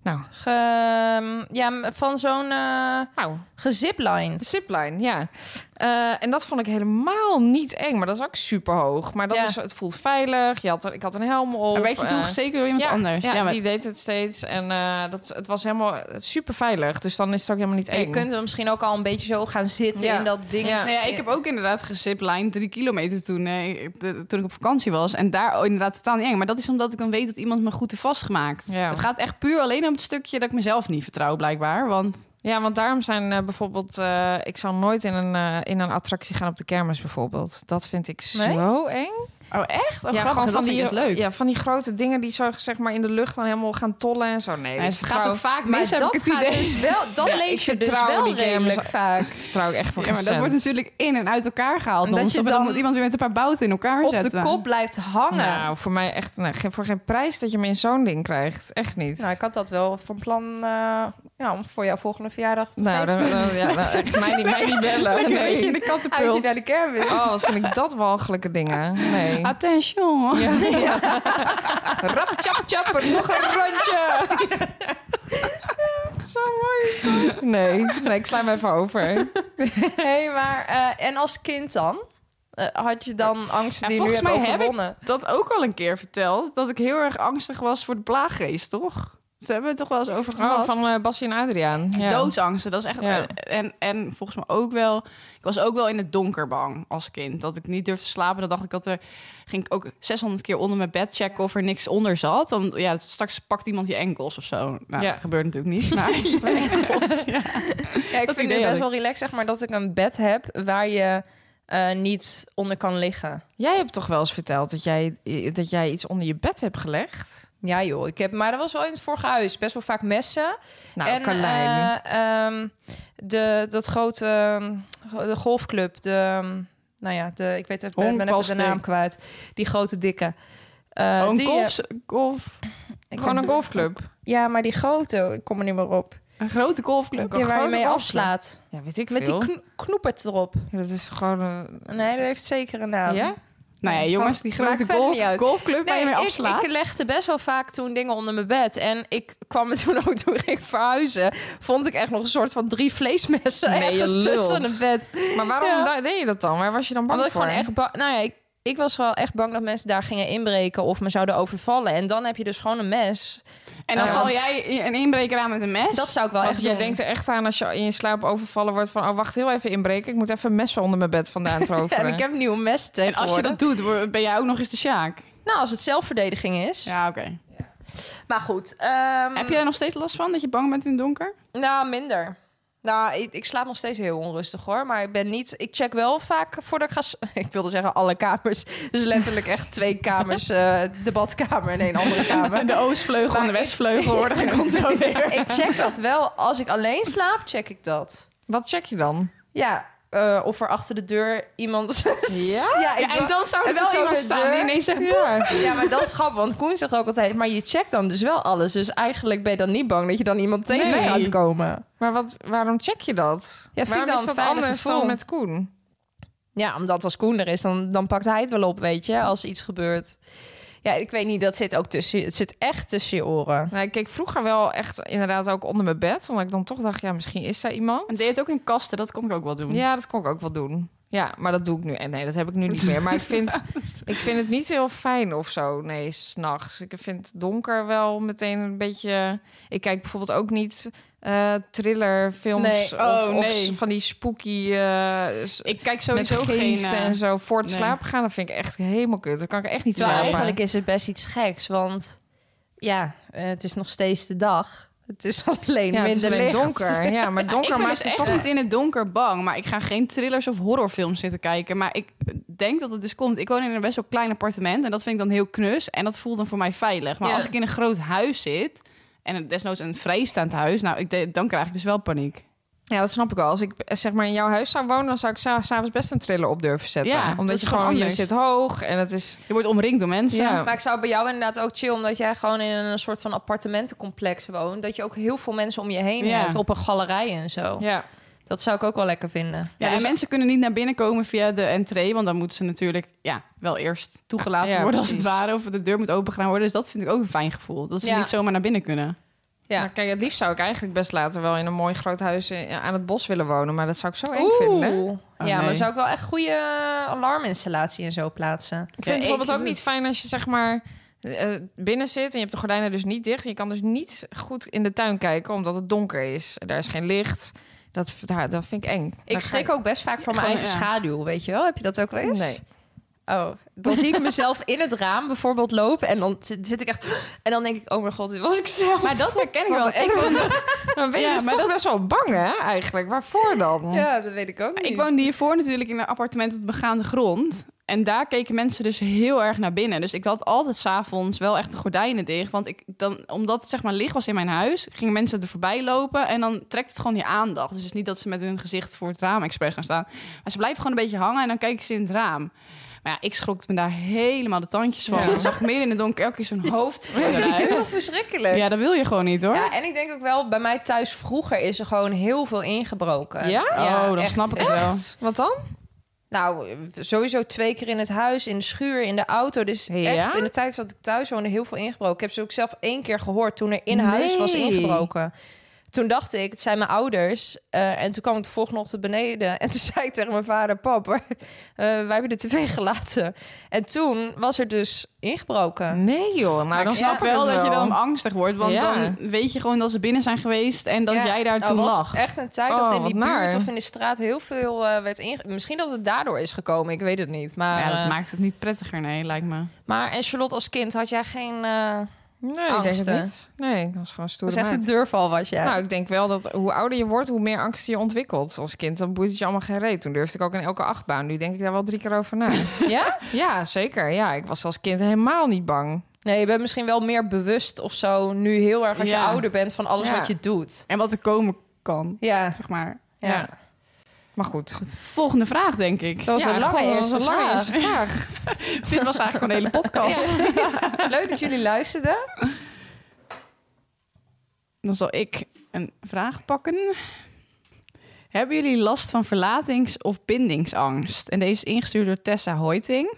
Nou, Ge- ehm, ja, m- van zo'n eh nou, geziplined. zipline, ja. Eh, en dat vond ik helemaal niet eng, maar dat is ook super hoog. Maar dat Ja. is, het voelt veilig. Je had, er- ik had een helm op. maar werd je toen eh, gezekerd door iemand ja, anders? Ja, maar- die deed het steeds en eh, dat, het was helemaal super veilig. Dus dan is het ook helemaal niet En eng. je kunt er misschien ook al een beetje zo gaan zitten Ja. in dat ding. Ja. Nou ja, ik heb ook inderdaad geziplined drie kilometer toen, eh, de- toen ik op vakantie was. En daar oh, inderdaad totaal niet eng. Maar dat is omdat ik dan weet dat iemand me goed heeft vastgemaakt. Ja. Het gaat echt puur alleen om het stukje dat ik mezelf niet vertrouw, blijkbaar. Want Ja, want daarom zijn eh, bijvoorbeeld... eh, ik zal nooit in een, eh, in een attractie gaan op de kermis bijvoorbeeld. Dat vind ik Nee? zo eng. oh echt? Oh, grappig, dat vind ik dus leuk. Ja, van die grote dingen die zo zeg maar in de lucht dan helemaal gaan tollen en zo. Nee, Ja, dus het gaat ook vaak Maar mis, heb dat ik het gaat idee. dus wel, dat lees je vind dus trouwen wel die games- redelijk vaak. vertrouw ik echt voor Ja, maar dat wordt natuurlijk in en uit elkaar gehaald. Omdat Dan, je dan, dan moet iemand weer met een paar bouten in elkaar Op de zetten. kop blijft hangen. Nou, Nou, voor mij echt nou, geen- voor geen prijs dat je me in zo'n ding krijgt. Echt niet. Nou, Nou, ik had dat wel van plan eh, ja, om voor jouw volgende verjaardag te Nou, dan, eh, dan- ja, nou, echt mij niet, mij niet bellen. Lekker Nee. dat je in de Uitje kattenpult. naar de kermis. Oh, wat vind ik dat walgelijke dingen. Nee. Attention. Rap, chap, chap, nog een rondje. Zo mooi. Nee, nee, ik sla hem even over. Hey, maar, eh, en als kind dan? Eh, had je dan angst Ja, die je nu volgens hebt mij heb ik- overwonnen? dat ook al een keer verteld. Dat ik heel erg angstig was voor de plaaggeest, toch? Ze hebben het toch wel eens over gehad. Oh, van eh Bassie en Adriaan. Ja. Doodsangsten, dat is echt... eh, Ja. En, en volgens mij ook wel... Ik was ook wel in het donker bang als kind. Dat ik niet durfde te slapen. Dan dacht ik dat er... Ging ik ook 600 keer onder mijn bed checken of er niks onder zat. Om, ja, straks pakt iemand je enkels of zo. Nou, Ja. dat gebeurt natuurlijk niet. Maar Ja, ik Dat vind het idee had best ik. wel relaxed, zeg maar, dat ik een bed heb waar je eh, niet onder kan liggen. Jij hebt toch wel eens verteld dat jij, eh, dat jij iets onder je bed hebt gelegd? Ja joh, ik heb, maar dat was wel in het vorige huis. Best wel vaak messen. Nou, en Carlijn. eh, ehm, de, dat grote ehm, de golfclub, de, ehm, nou ja, de, ik weet even, ben even Honkbalsteek. de naam kwijt. Die grote dikke. Eh, Oh, een die, eh, golf, golf... ik Gewoon heb- een golfclub. Ja, maar die grote, ik kom er niet meer op. Een grote golfclub. Die waar je grote mee golfclub. afslaat. Ja, weet ik Met die veel. kno- knoepert erop. Ja, dat is gewoon... eh, Nee, dat heeft zeker een naam. ja? Nou ja, jongens, die Maakt grote verder golf- niet uit. golfclub waar je mee ik- afslaat. Ik, legde best wel vaak toen dingen onder mijn bed. En ik kwam er toen ook toen ging ik verhuizen. Vond ik echt nog een soort van drie vleesmessen Nee, je lult. ergens tussen het bed. Maar waarom da- deed je dat dan? Waar was je dan bang Omdat ik voor? gewoon echt bang... Nou ja, ik, ik was wel echt bang dat mensen daar gingen inbreken... of me zouden overvallen. En dan heb je dus gewoon een mes. en dan Ja, val want- jij een inbreker aan met een mes. Dat zou ik wel Want echt jij doen. denkt er echt aan als je in je slaap overvallen wordt van... oh, wacht, heel even inbreken. Ik moet even een mes wel onder mijn bed vandaan Ja, en toveren. ik heb nieuwe mes en als je dat doet, word- ben jij ook nog eens de Sjaak. Nou, als het zelfverdediging is. Ja, oké. Maar goed. ehm, Heb je daar nog steeds last van, dat je bang bent in het donker? Nou, minder. Nou, ik, ik slaap nog steeds heel onrustig hoor. Maar ik ben niet. Ik check wel vaak voordat ik ga. s- Ik wilde zeggen alle kamers. Dus letterlijk echt twee kamers. eh, de badkamer en een andere kamer. De oostvleugel en de Maar ik- westvleugel worden gecontroleerd. ik check dat wel. Als ik alleen slaap, check ik dat. Wat check je dan? Ja. eh, of er achter de deur iemand. Ja? ja, ik Ja, en dan zou er even wel zo iemand de staan deur. die ineens zegt... Ja. Ja, maar dat is grappig, want Koen zegt ook altijd... maar je checkt dan dus wel alles. Dus eigenlijk ben je dan niet bang dat je dan iemand tegen Nee. gaat komen. Maar wat, waarom check je dat? vind waarom ik dan is dat een veilig anders gevoel. dan met Koen? Ja, omdat als Koen er is, dan, dan pakt hij het wel op, weet je, als iets gebeurt. Ja, ik weet niet, dat zit ook tussen. Het zit echt tussen je oren. Nou, ik keek vroeger wel echt inderdaad ook onder mijn bed. Omdat ik dan toch dacht, ja, misschien is daar iemand. En deed het ook in kasten, dat kon ik ook wel doen. Ja, dat kon ik ook wel doen. Ja, maar dat doe ik nu. En nee, dat heb ik nu niet meer. Maar ik vind, ik vind het niet heel fijn of zo. Nee, s'nachts. Ik vind donker wel meteen een beetje. Ik kijk bijvoorbeeld ook niet eh thrillerfilms. Nee. Of, Oh, of nee. van die spooky. eh, s- Ik kijk met sowieso geen... geesten eh, en zo. Voor het nee. slapen gaan, dat vind ik echt helemaal kut. Dan kan ik echt niet Terwijl slapen. eigenlijk is het best iets geks, want ja, eh, het is nog steeds de dag. Het is alleen ja, het minder is alleen licht. donker. Ja, maar donker ik ben maakt dus het echt toch niet in het donker bang. Maar ik ga geen thrillers of horrorfilms zitten kijken. Maar ik denk dat het dus komt. Ik woon in een best wel klein appartement. En dat vind ik dan heel knus. En dat voelt dan voor mij veilig. Maar Ja. als ik in een groot huis zit... En het desnoods een vrijstaand huis. Nou, ik de- dan krijg ik dus wel paniek. Ja, dat snap ik wel. Als ik eh, zeg maar in jouw huis zou wonen, dan zou ik sa- s'avonds best een triller op durven zetten. Ja, dat Omdat is je gewoon gewoon, je anders. zit hoog en het is... Je wordt omringd door mensen. Ja. Maar ik zou bij jou inderdaad ook chill, omdat jij gewoon in een soort van appartementencomplex woont. Dat je ook heel veel mensen om je heen Ja. hebt op een galerij en zo. Ja. Dat zou ik ook wel lekker vinden. dus Ja, dus- en mensen kunnen niet naar binnen komen via de entree. Want dan moeten ze natuurlijk ja, wel eerst toegelaten Ja, worden als precies. het ware. Of de deur moet opengegaan worden. Dus dat vind ik ook een fijn gevoel. Dat ze Ja. niet zomaar naar binnen kunnen. Ja. Nou, kijk, het liefst zou ik eigenlijk best later wel in een mooi groot huis eh, aan het bos willen wonen. Maar dat zou ik zo eng vinden. Oeh. Oh, ja, maar nee. zou ik wel echt goede eh, alarminstallatie en zo plaatsen. Ik vind Ja, het bijvoorbeeld ik- ook niet fijn als je zeg maar eh, binnen zit en je hebt de gordijnen dus niet dicht. En je kan dus niet goed in de tuin kijken, omdat het donker is. Daar is geen licht. Dat, daar- dat vind ik eng. Ik schrik ook best vaak van mijn Gewoon, eigen ja. schaduw, weet je wel? Heb je dat ook wel eens? Nee. Oh, dan zie ik mezelf in het raam bijvoorbeeld lopen en dan zit, zit ik echt... En dan denk ik, oh mijn god, dit was ik zelf. Maar dat herken ik Wat wel. Ik woon, Dan ben je Ja, dus maar toch dat- best wel bang, hè? Eigenlijk. Waarvoor dan? Ja, dat weet ik ook ik woonde hiervoor natuurlijk in een appartement op begaande grond. En daar keken mensen dus heel erg naar binnen. Dus ik had altijd s'avonds wel echt de gordijnen dicht. Want ik dan, omdat het zeg maar licht was in mijn huis, gingen mensen er voorbij lopen. En dan trekt het gewoon je aandacht. Dus het is niet dat ze met hun gezicht voor het raam expres gaan staan. Maar ze blijven gewoon een beetje hangen en dan kijken ze in het raam. Maar ja, ik schrok me daar helemaal de tandjes van. Ja. Ik zag meer in de donker elke keer zo'n hoofd. Dat is toch verschrikkelijk? Ja, dat wil je gewoon niet hoor. Ja, en ik denk ook wel, bij mij thuis vroeger is er gewoon heel veel ingebroken. Ja? oh, dan echt. snap ik het wel. Wat dan? Nou, sowieso twee keer in het huis, in de schuur, in de auto. Dus Ja? echt, in de tijd dat ik thuis woonde, heel veel ingebroken. Ik heb ze ook zelf één keer gehoord toen er in huis was Nee. ingebroken. Toen dacht ik, het zijn mijn ouders. eh, en toen kwam ik de volgende ochtend beneden. En toen zei ik tegen mijn vader, pap, eh, wij hebben de tv gelaten. En toen was er dus ingebroken. Nee joh, nou Maar dan dan ik snap snap ik ik wel het dat je wel. dan angstig wordt. Want Ja. dan weet je gewoon dat ze binnen zijn geweest en dat Ja, jij daar nou, toen was lag. echt een tijd Oh, dat in wat die naar. buurt of in de straat heel veel eh, werd inge... Misschien dat het daardoor is gekomen, ik weet het niet. Maar, ja, dat eh, maakt het niet prettiger, nee, lijkt me. maar en Charlotte als kind, had jij geen... eh Nee, ik denk Angsten. het niet. Nee, ik was gewoon stoer. was echt een deurval was jij. Nou, ik denk wel dat hoe ouder je wordt, hoe meer angst je ontwikkelt. Als kind, dan boeit het je allemaal geen reet. Toen durfde ik ook in elke achtbaan. Nu denk ik daar wel drie keer over na. ja? ja, zeker. Ja, ik was als kind helemaal niet bang. Nee, je bent misschien wel meer bewust of zo nu heel erg als Ja. je ouder bent van alles Ja. wat je doet. En wat er komen kan, Ja. zeg maar. Ja. Ja. Maar goed. Volgende vraag, denk ik. Dat was Ja, een lange god, dat was eerste een lange vraag. eerste vraag. Dit was eigenlijk een hele podcast. Leuk dat jullie luisterden. Dan zal ik een vraag pakken. Hebben jullie last van verlatings- of bindingsangst? En deze is ingestuurd door Tessa Hoiting.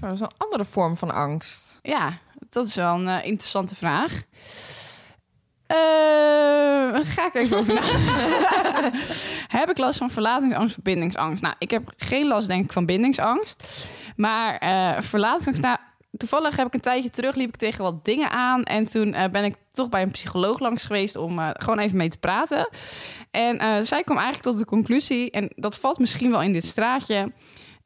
Dat is een andere vorm van angst. Ja, dat is wel een eh, interessante vraag. Eh, ga ik er even over na. heb ik last van verlatingsangst of bindingsangst? Nou, ik heb geen last, denk ik, van bindingsangst. Maar eh verlatingsangst... Nou, toevallig heb ik een tijdje terug... liep ik tegen wat dingen aan. En toen eh, ben ik toch bij een psycholoog langs geweest... om eh, gewoon even mee te praten. En eh, zij kwam eigenlijk tot de conclusie... en dat valt misschien wel in dit straatje...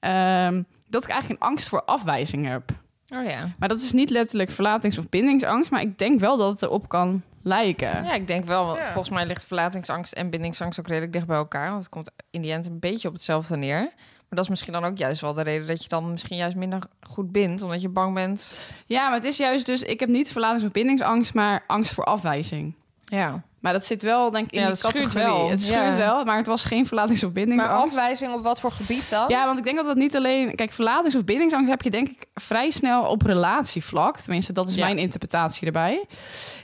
ehm, dat ik eigenlijk een angst voor afwijzing heb. Oh ja. Maar dat is niet letterlijk verlatings- of bindingsangst. Maar ik denk wel dat het erop kan lijken. Ja, ik denk wel. want Volgens mij ligt verlatingsangst en bindingsangst ook redelijk dicht bij elkaar. Want het komt in die end een beetje op hetzelfde neer. Maar dat is misschien dan ook juist wel de reden dat je dan misschien juist minder goed bindt. Omdat je bang bent. Ja, maar het is juist dus... Ik heb niet verlatings- of bindingsangst, maar angst voor afwijzing. Ja. Maar dat zit wel, denk ik, in Ja, die dat schuurt categorie. wel. Het schuurt Ja. wel, maar het was geen verlatings- of Maar bindingsangst. afwijzing op wat voor gebied dan? Ja, want ik denk dat dat niet alleen... Kijk, verlatings- of bindingsangst heb je denk ik vrij snel op relatievlak. Tenminste, dat is Ja. mijn interpretatie erbij.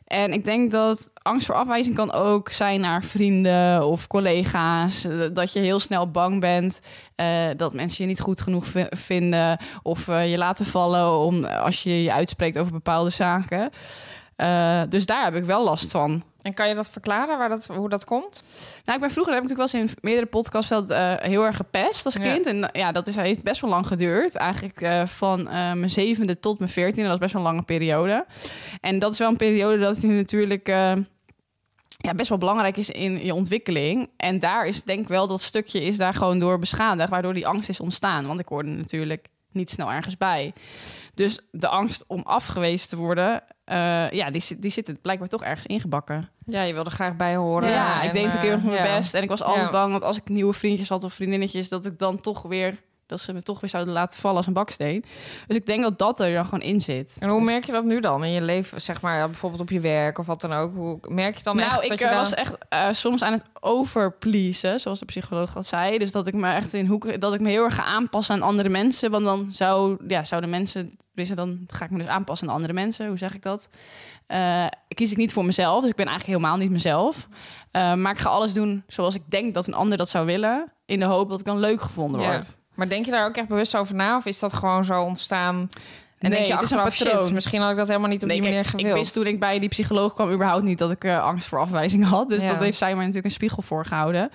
En ik denk dat angst voor afwijzing kan ook zijn naar vrienden of collega's. Eh, Dat je heel snel bang bent eh, dat mensen je niet goed genoeg vi- vinden. Of eh, je laten vallen om, eh, als je je uitspreekt over bepaalde zaken. Eh, dus daar heb ik wel last van. En kan je dat verklaren waar dat, hoe dat komt? Nou, ik ben vroeger, dat heb ik natuurlijk wel eens in meerdere podcasts wel, eh, heel erg gepest als Ja. kind. En ja, dat is, heeft best wel lang geduurd. Eigenlijk eh, van eh, mijn zevende tot mijn veertiende. Dat is best wel een lange periode. En dat is wel een periode dat je natuurlijk... eh, ja, best wel belangrijk is in je ontwikkeling. En daar is denk ik wel dat stukje is daar gewoon door beschadigd, waardoor die angst is ontstaan. Want ik hoorde natuurlijk niet snel ergens bij. Dus de angst om afgewezen te worden, eh, ja, die, zit- die zit blijkbaar toch ergens ingebakken. Ja, je wilde graag bij horen. Ja, ik en, deed natuurlijk heel erg eh, mijn ja. best. En ik was altijd Ja. bang dat als ik nieuwe vriendjes had of vriendinnetjes, dat ik dan toch weer, dat ze me toch weer zouden laten vallen als een baksteen. Dus ik denk dat dat er dan gewoon in zit. En hoe merk je dat nu dan in je leven, zeg maar, bijvoorbeeld op je werk of wat dan ook? Hoe merk je dan echt nou, ik dat je eh, daar- was echt eh, soms aan het overpleasen, zoals de psycholoog dat zei. Dus dat ik me echt in hoeken, dat ik me heel erg ga aanpassen aan andere mensen. Want dan zou, ja, zouden mensen, tenminste, dan ga ik me dus aanpassen aan andere mensen. Hoe zeg ik dat? Eh, kies ik niet voor mezelf, dus ik ben eigenlijk helemaal niet mezelf. Eh, maar ik ga alles doen zoals ik denk dat een ander dat zou willen, in de hoop dat ik dan leuk gevonden Ja. word. Maar denk je daar ook echt bewust over na? Of is dat gewoon zo ontstaan? En denk het is je een achteraf, shit, patroon. misschien had ik dat helemaal niet op Nee, die kijk, manier ik gewild. wist toen ik bij die psycholoog kwam überhaupt niet dat ik eh, angst voor afwijzing had. Dus Ja. dat heeft zij mij natuurlijk een spiegel voor gehouden.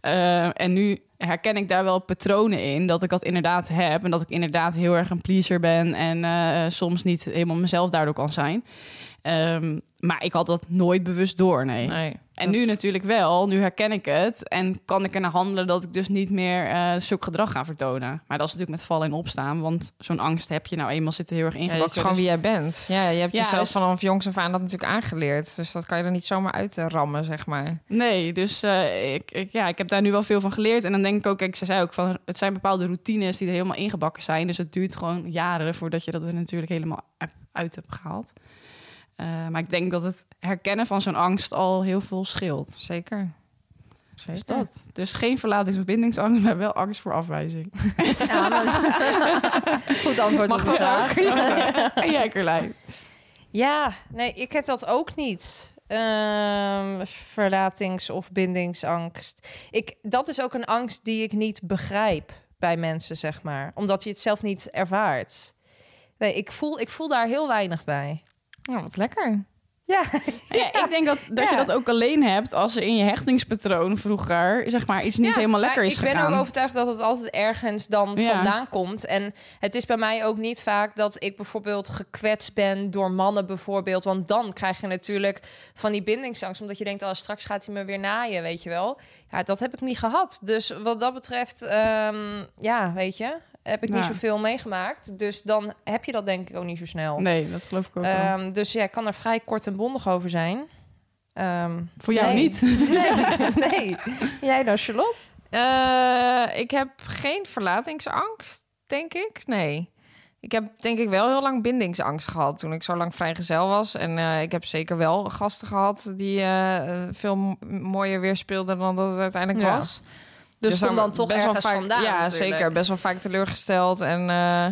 Eh, en nu herken ik daar wel patronen in dat ik dat inderdaad heb. En dat ik inderdaad heel erg een pleaser ben en eh, soms niet helemaal mezelf daardoor kan zijn. Ehm, maar ik had dat nooit bewust door, nee. Nee, En dat nu is- natuurlijk wel, nu herken ik het. En kan ik ernaar handelen dat ik dus niet meer eh zulk gedrag ga vertonen. Maar dat is natuurlijk met vallen en opstaan. Want zo'n angst heb je nou eenmaal zitten heel erg Ja, ingebakken. het is gewoon Dus- wie jij bent. Ja, je hebt Ja, jezelf dus- vanaf jongs af aan dat natuurlijk aangeleerd. Dus dat kan je er niet zomaar uit eh, rammen, zeg maar. Nee, dus eh, ik, ik, ja, ik heb daar nu wel veel van geleerd. En dan denk ik ook, kijk, ze zei ook van het zijn bepaalde routines die er helemaal ingebakken zijn. Dus het duurt gewoon jaren voordat je dat er natuurlijk helemaal heb- uit hebt gehaald. Eh, maar ik denk dat het herkennen van zo'n angst al heel veel scheelt. Zeker. Dus, Zeker. dat. dus geen verlatings- of bindingsangst, maar wel angst voor afwijzing. Ja, maar- Goed antwoord op de vraag. en jij, Carlijn? Ja, nee, ik heb dat ook niet. Ehm, verlatings- of bindingsangst. Ik, dat is ook een angst die ik niet begrijp bij mensen, zeg maar. Omdat je het zelf niet ervaart. Nee, ik voel, ik voel daar heel weinig bij. Nou, wat lekker. Ja, Ja, ik denk dat, dat je Ja. dat ook alleen hebt als er in je hechtingspatroon vroeger zeg maar, iets niet Ja, helemaal maar lekker is Ik ben gegaan. ook overtuigd dat het altijd ergens dan Ja. vandaan komt. En het is bij mij ook niet vaak dat ik bijvoorbeeld gekwetst ben door mannen bijvoorbeeld. Want dan krijg je natuurlijk van die bindingsangst. Omdat je denkt, oh, straks gaat hij me weer naaien, weet je wel. Ja, dat heb ik niet gehad. Dus wat dat betreft, ehm, ja, weet je, heb ik niet Ja. zoveel meegemaakt. Dus dan heb je dat denk ik ook niet zo snel. Nee, dat geloof ik ook wel. Ehm, dus ja, ik kan er vrij kort en bondig over zijn. Ehm, Voor jou nee. niet. Nee, nee. Jij dan, Charlotte? Eh, ik heb geen verlatingsangst, denk ik. Nee. Ik heb denk ik wel heel lang bindingsangst gehad toen ik zo lang vrijgezel was. En eh, ik heb zeker wel gasten gehad die eh, veel m- mooier weerspeelden dan dat het uiteindelijk Ja. was. Dus kom dan toch best wel ergens vaak, vandaan Ja, natuurlijk. zeker. Best wel vaak teleurgesteld. En eh,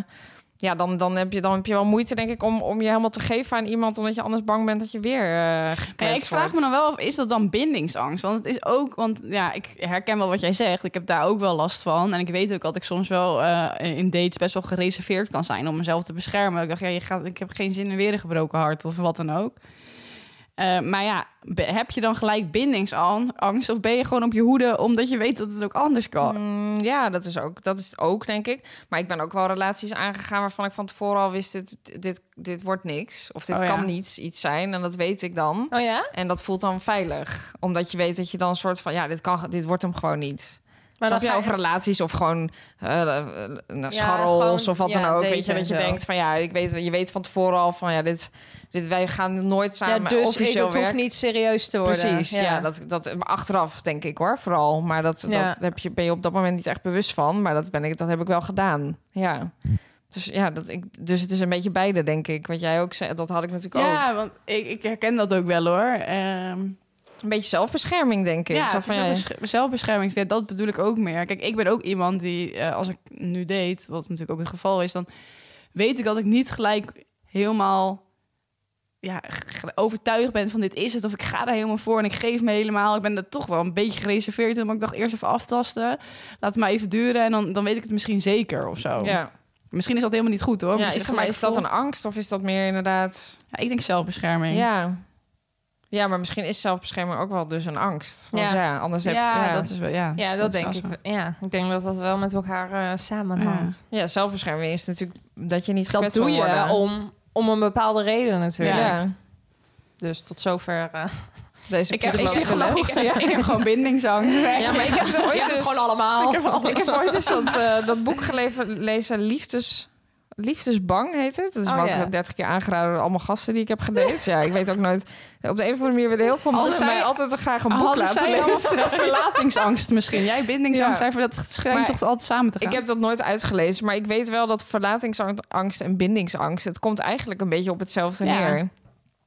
ja, dan, dan, heb je, dan heb je wel moeite, denk ik, om, om je helemaal te geven aan iemand... omdat je anders bang bent dat je weer eh gekwetst Ja, ik vraag wordt. me dan wel af, is dat dan bindingsangst? Want het is ook, want ja, ik herken wel wat jij zegt. Ik heb daar ook wel last van. En ik weet ook dat ik soms wel eh, in dates best wel gereserveerd kan zijn om mezelf te beschermen. Ik dacht, ja, je gaat, ik heb geen zin in weer een gebroken hart of wat dan ook. Eh, maar ja, be- heb je dan gelijk bindingsangst? Of ben je gewoon op je hoede omdat je weet dat het ook anders kan? Mm, ja, dat is, ook, dat is het ook, denk ik. Maar ik ben ook wel relaties aangegaan waarvan ik van tevoren al wist... dit, dit, dit wordt niks. Of dit Oh ja. kan niets iets zijn. En dat weet ik dan. Oh ja? En dat voelt dan veilig. Omdat je weet dat je dan een soort van... ja, dit, kan, dit wordt hem gewoon niet. Maar Maar dan Snap je ga je- over relaties of gewoon eh, eh, eh, nou, Ja, scharrels gewoon, of wat dan ja, ook. daten Weet je, en dat je zo. denkt van ja, ik weet, je weet van tevoren al van ja, dit, dit, wij gaan nooit samen ja, dus ik, officieel het hoeft werken. niet serieus te worden. Precies, ja. dat, dat, maar achteraf denk ik hoor, vooral. Maar dat, Ja. dat heb je, ben je op dat moment niet echt bewust van. Maar dat, ben ik, dat heb ik wel gedaan, ja. Dus, ja, dat ik, dus het is een beetje beide, denk ik. Wat jij ook zei, dat had ik natuurlijk ook. Ja, want ik, ik herken dat ook wel hoor. Ehm, Een beetje zelfbescherming, denk ik. Ja, Zo het van, is ook ja, een sch- zelfbeschermingsnet, dat bedoel ik ook meer. Kijk, ik ben ook iemand die, eh, als ik nu date, wat natuurlijk ook het geval is, dan weet ik dat ik niet gelijk helemaal ja, g- overtuigd ben van dit is het, of ik ga daar helemaal voor en ik geef me helemaal. Ik ben er toch wel een beetje gereserveerd in, maar ik dacht eerst even aftasten. Laat het maar even duren en dan, dan weet ik het misschien zeker of zo. ja. Misschien is dat helemaal niet goed Ja, hoor. Moet je is, dat, maar gelijk is dat vol- een angst of is dat meer inderdaad... Ja, ik denk zelfbescherming. Ja. ja, maar misschien is zelfbescherming ook wel dus een angst. Want ja, Ja. anders heb Dus Ja, ja. dat is wel, ja. Ja, dat, is denk wel ik. zo. Ja, ik denk dat dat wel met elkaar eh, samenhangt. ja, zelfbescherming is natuurlijk dat je niet Dat gekwetst doe wil je worden. om, om een bepaalde reden natuurlijk. Ja. Ja. Dus tot zover. eh Deze Ik heb, ik, psychologische zeg les. wel, ik, ik heb gewoon bindingsangst. Ja, maar ik heb er ooit ja, eens- gewoon allemaal. Dus- Ik heb ooit eens dat, eh, dat boek gelezen, Liefdes... Liefdesbang heet het. Dat is Oh, me ook ja. 30 keer aangeraden door allemaal gasten die ik heb gedate. Ja, ik weet ook nooit... Op de een of andere manier willen heel veel Hadden mannen zij- mij altijd graag een boek Hadden laten zij lezen. allemaal verlatingsangst misschien. Jij bindingsangst, Ja. zij voor dat schijnt Maar toch altijd samen te gaan. Ik heb dat nooit uitgelezen, maar ik weet wel dat verlatingsangst en bindingsangst, het komt eigenlijk een beetje op hetzelfde Ja. neer.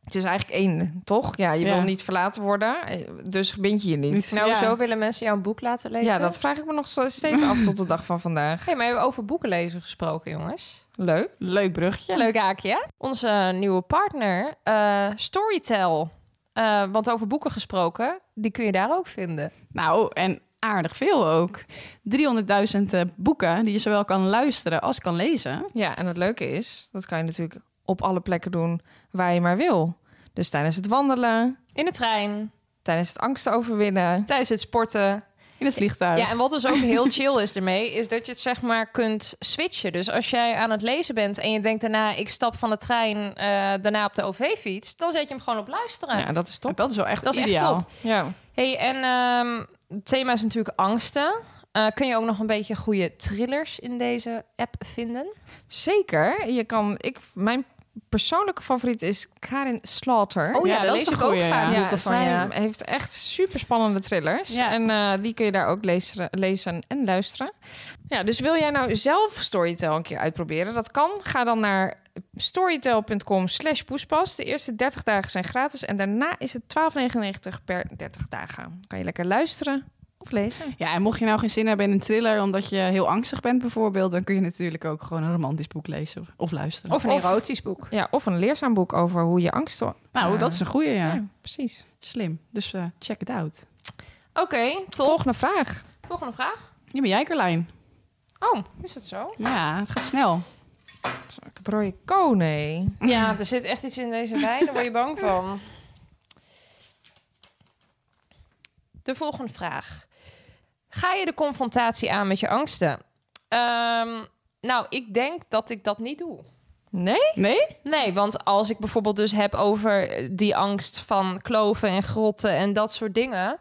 Het is eigenlijk één, toch? Ja, je Ja. wil niet verlaten worden, eh, dus bind je je niet. Niet. Nou, Ja. zo willen mensen jou een boek laten lezen. Ja, dat vraag ik me nog zo- steeds af tot de dag van vandaag. Hey, maar we hebben over boeken lezen gesproken, jongens. Leuk. Leuk bruggetje. Leuk haakje. hè? Onze nieuwe partner, eh, Storytel. Eh, want over boeken gesproken, die kun je daar ook vinden. Nou, en aardig veel ook. 300.000 eh, boeken die je zowel kan luisteren als kan lezen. Ja, en het leuke is, dat kan je natuurlijk op alle plekken doen waar je maar wil. Dus tijdens het wandelen, In de trein, tijdens het angsten overwinnen. tijdens het sporten. In het vliegtuig. Ja, en wat dus ook heel chill is ermee, is dat je het zeg maar kunt switchen. Dus als jij aan het lezen bent en je denkt daarna, ik stap van de trein eh, daarna op de OV-fiets, dan zet je hem gewoon op luisteren. Ja, dat is top. Dat is wel echt Dat is echt ideaal. top. Ja. Hey, en ehm, het thema is natuurlijk angsten. Eh, kun je ook nog een beetje goede thrillers in deze app vinden? Zeker. Je kan, ik, mijn persoonlijke favoriet is Karin Slaughter. ja, dat is een goeie, ja. boeken Ja, van, zij ja. heeft echt super spannende thrillers. Ja. En eh, die kun je daar ook lezen, lezen en luisteren. Ja, dus wil jij nou zelf Storytel een keer uitproberen? Dat kan. Ga dan naar storytel.com slash poespas. De eerste 30 dagen zijn gratis. En daarna is het 12,99 per 30 dagen. Kan je lekker luisteren of lezen. Ja, en mocht je nou geen zin hebben in een thriller omdat je heel angstig bent bijvoorbeeld, dan kun je natuurlijk ook gewoon een romantisch boek lezen of luisteren. Of een Of- erotisch boek. Ja, of een leerzaam boek over hoe je angst... nou, Ja. dat is een goeie, ja. Ja, precies. Slim. Dus eh, check it out. Oké, top. Volgende vraag. Volgende vraag. Hier ben jij, Carlijn. Oh, is dat zo? Ja, het gaat snel. Brooi Kone. Ja, er zit echt iets in deze wijn, daar word je bang van. De volgende vraag. Ga je de confrontatie aan met je angsten? Ehm, nou, ik denk dat ik dat niet doe. Nee? Nee? Nee, want als ik bijvoorbeeld dus heb over eh, die angst van kloven en grotten en dat soort dingen.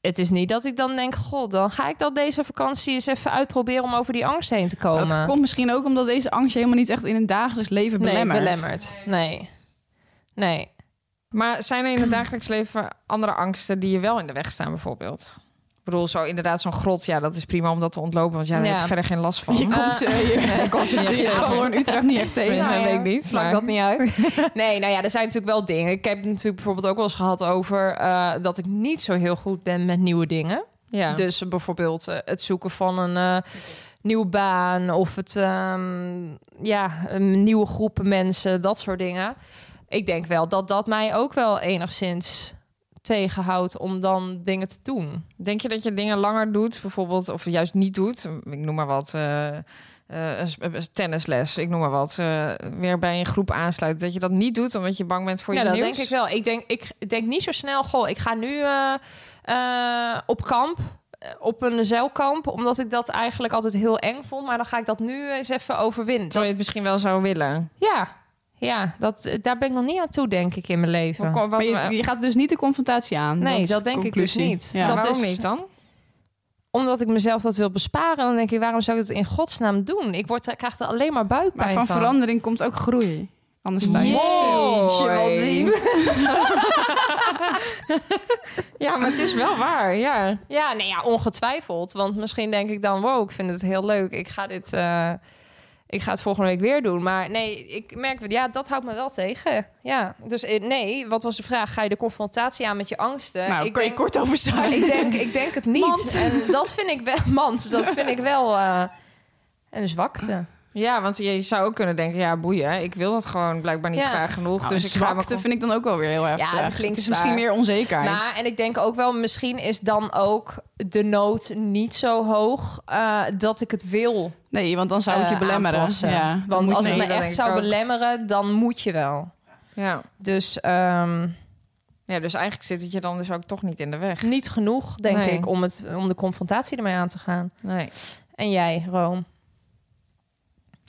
Het is niet dat ik dan denk, god, dan ga ik dat deze vakantie eens even uitproberen om over die angst heen te komen. Dat komt misschien ook omdat deze angst je helemaal niet echt in een dagelijks leven belemmert. Nee, belemmerd. Nee. Nee. Maar zijn er in het dagelijks leven andere angsten die je wel in de weg staan, bijvoorbeeld? Ik bedoel, zo inderdaad zo'n grot, ja, dat is prima om dat te ontlopen, want ja, daar Ja. heb je verder geen last van. Je komt ze, je, ik kon ze niet echt je tegen. komt gewoon in Utrecht niet echt tegen. Tenminste, Ja, dat ja. weet ik niet, Maakt maar... dat niet uit. Nee, nou ja, er zijn natuurlijk wel dingen. Ik heb het natuurlijk bijvoorbeeld ook wel eens gehad over eh, dat ik niet zo heel goed ben met nieuwe dingen. Ja. Dus eh, bijvoorbeeld eh, het zoeken van een eh, nieuwe baan of het, ehm, ja, een nieuwe groepen mensen, dat soort dingen. Ik denk wel dat dat mij ook wel enigszins tegenhoudt om dan dingen te doen. Denk je dat je dingen langer doet, bijvoorbeeld, of juist niet doet? Ik noem maar wat, eh, eh, een s- een tennisles, ik noem maar wat. eh, weer bij een groep aansluiten, dat je dat niet doet omdat je bang bent voor ja, iets Nou, dat nieuws? denk ik wel. Ik denk, ik denk niet zo snel, goh, ik ga nu eh, eh, op kamp, eh, op een zeilkamp, omdat ik dat eigenlijk altijd heel eng vond. Maar dan ga ik dat nu eens even overwinnen. Terwijl je het misschien wel zou willen. Ja, ja dat, daar ben ik nog niet aan toe, denk ik, in mijn leven. Hoe kom- wat- Maar je, je gaat dus niet de confrontatie aan. Nee, is dat denk ik conclusie. dus niet. Ja. Dat- waarom is- niet dan? omdat ik mezelf dat wil besparen, dan denk ik, waarom zou ik dat in godsnaam doen? Ik word, ik krijg er alleen maar Maar buikpijn van, verandering komt ook groei. Anders sta je Yes. stil. Jeetje, Mooi. wat diep. Ja, maar het is wel waar, ja. Ja, nee, ja, ongetwijfeld. Want misschien denk ik dan, wow, ik vind het heel leuk. Ik ga dit, eh, ik ga het volgende week weer doen. Maar nee, ik merk, ja, dat houdt me wel tegen. Ja, dus eh, nee, wat was de vraag? Ga je de confrontatie aan met je angsten? nou, ik kan je denk- kort over maar zijn. ik denk, ik denk het niet. Mand. En dat vind ik wel, mand, dat vind ik wel eh, een zwakte. Ja, want je zou ook kunnen denken, ja, boeien. Ik wil dat gewoon blijkbaar niet Ja. graag genoeg. Nou, dus ik ga maar... zwakte vind ik dan ook wel weer heel heftig. dat klinkt het is zwaar. misschien meer onzekerheid. Maar, en ik denk ook wel, misschien is dan ook de nood niet zo hoog eh, dat ik het wil. nee, want dan zou het je eh, belemmeren. aanpassen. Ja, dan Want moet als je- het me nee, dat denk echt ik zou ook. belemmeren, dan moet je wel. Ja. Dus ehm, ja, dus eigenlijk zit het je dan dus ook toch niet in de weg. niet genoeg, denk Nee. ik, om, het, om de confrontatie ermee aan te gaan. Nee. En jij, Room?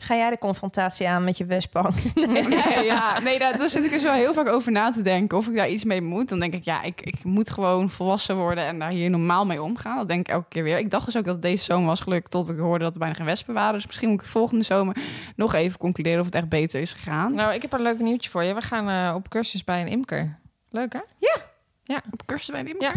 Ga jij de confrontatie aan met je wespangst? Nee, ja, nee daar, daar zit ik dus wel heel vaak over na te denken of ik daar iets mee moet. Dan denk ik, ja, ik, ik moet gewoon volwassen worden en daar hier normaal mee omgaan. Dat denk ik elke keer weer. Ik dacht dus ook dat het deze zomer was gelukt tot ik hoorde dat er bijna geen wespen waren. Dus misschien moet ik volgende zomer nog even concluderen of het echt beter is gegaan. Nou, ik heb een leuk nieuwtje voor je. We gaan eh, op cursus bij een imker. Leuk, hè? Op cursus bij de Ja.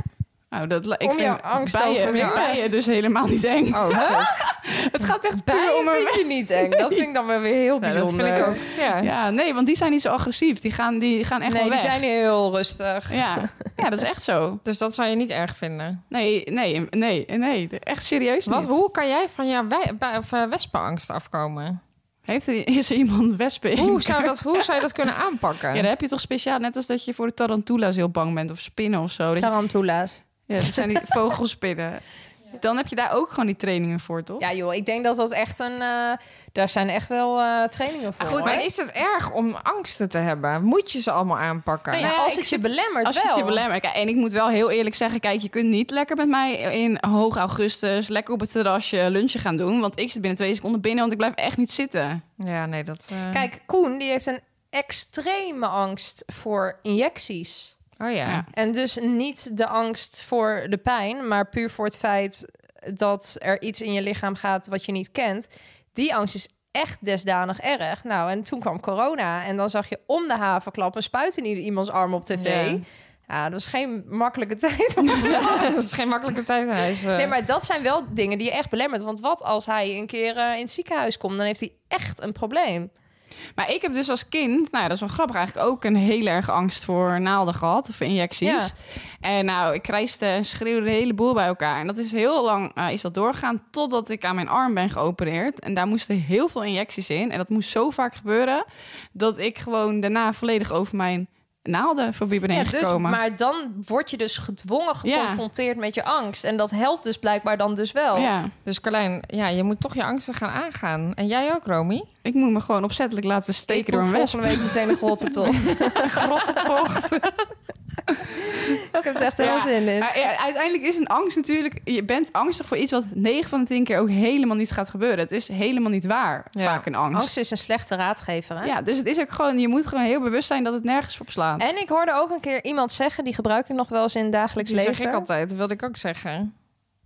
Nou, dat, la- ik Om vind jouw angst bijen, overwinnen. bijen dus helemaal niet eng. Oh, goed. Het gaat echt puur Bijen om een... vind je niet eng. Dat vind ik dan wel weer heel Nou, dat bijzonder. vind ik ook. Ja. Ja, nee, want die zijn niet zo agressief. Die gaan, die gaan echt nee, wel die weg. zijn heel rustig. ja. ja, dat is echt zo. Dus dat zou je niet erg vinden. Nee, nee, nee, nee. Echt serieus Wat, niet. hoe kan jij van jouw wij- bij- of, eh, wespenangst afkomen? Heeft er, is er iemand wespen in? Hoe zou, dat, hoe zou je dat kunnen aanpakken? Ja, dan heb je toch speciaal, net als dat je voor de tarantula's heel bang bent of spinnen of zo. Dat, je- Tarantula's. ja, dat zijn die vogelspinnen. Dan heb je daar ook gewoon die trainingen voor, toch? Ja joh, ik denk dat dat echt een... eh, daar zijn echt wel eh, trainingen voor. Ah, goed, hoor. maar is het erg om angsten te hebben? Moet je ze allemaal aanpakken? Nou ja, Nou ja, als ik het je zit- belemmert Als wel. je het je belemmert. Kijk, En ik moet wel heel eerlijk zeggen, kijk, je kunt niet lekker met mij in hoog augustus, lekker op het terrasje lunchen gaan doen. Want ik zit binnen twee seconden binnen, want ik blijf echt niet zitten. Ja, nee, dat... eh, Kijk, Koen die heeft een extreme angst voor injecties. Oh ja. Ja. En dus niet de angst voor de pijn, maar puur voor het feit dat er iets in je lichaam gaat wat je niet kent. Die angst is echt desdanig erg. Nou, en toen kwam corona en dan zag je om de havenklap een spuit in ieder- iemands arm op tv. Ja. Ja, dat is geen makkelijke tijd om dat is geen makkelijke tijd. Hij is, eh, Nee, maar dat zijn wel dingen die je echt belemmert. Want wat als hij een keer eh, in het ziekenhuis komt, dan heeft hij echt een probleem. Maar ik heb dus als kind, nou ja, dat is wel grappig eigenlijk, ook een heel erg angst voor naalden gehad of injecties. Ja. En nou, ik krijste en schreeuwde de hele boel bij elkaar. En dat is heel lang eh, is dat doorgegaan totdat ik aan mijn arm ben geopereerd. En daar moesten heel veel injecties in. En dat moest zo vaak gebeuren dat ik gewoon daarna volledig over mijn naaldenfobie ben heen dus, gekomen. maar dan word je dus gedwongen Ja. geconfronteerd met je angst. En dat helpt dus blijkbaar dan dus wel. Ja, Dus Carlijn, ja, je moet toch je angsten gaan aangaan. En jij ook, Romy? ik moet me gewoon opzettelijk laten steken Ik door boek een wesp. volgende week meteen een grottentocht. Grottentocht. ik heb er echt heel Ja. zin in. Maar Ah, ja, uiteindelijk is een angst natuurlijk... Je bent angstig voor iets wat 9 van de 10 keer ook helemaal niet gaat gebeuren. Het is helemaal niet waar, Ja. vaak een Angst is een slechte raadgever, hè? Ja, dus het is ook gewoon, je moet gewoon heel bewust zijn dat het nergens op slaat. En ik hoorde ook een keer iemand zeggen, die gebruik ik nog wel eens in het dagelijks Die leven. zeg ik altijd, dat wilde ik ook zeggen.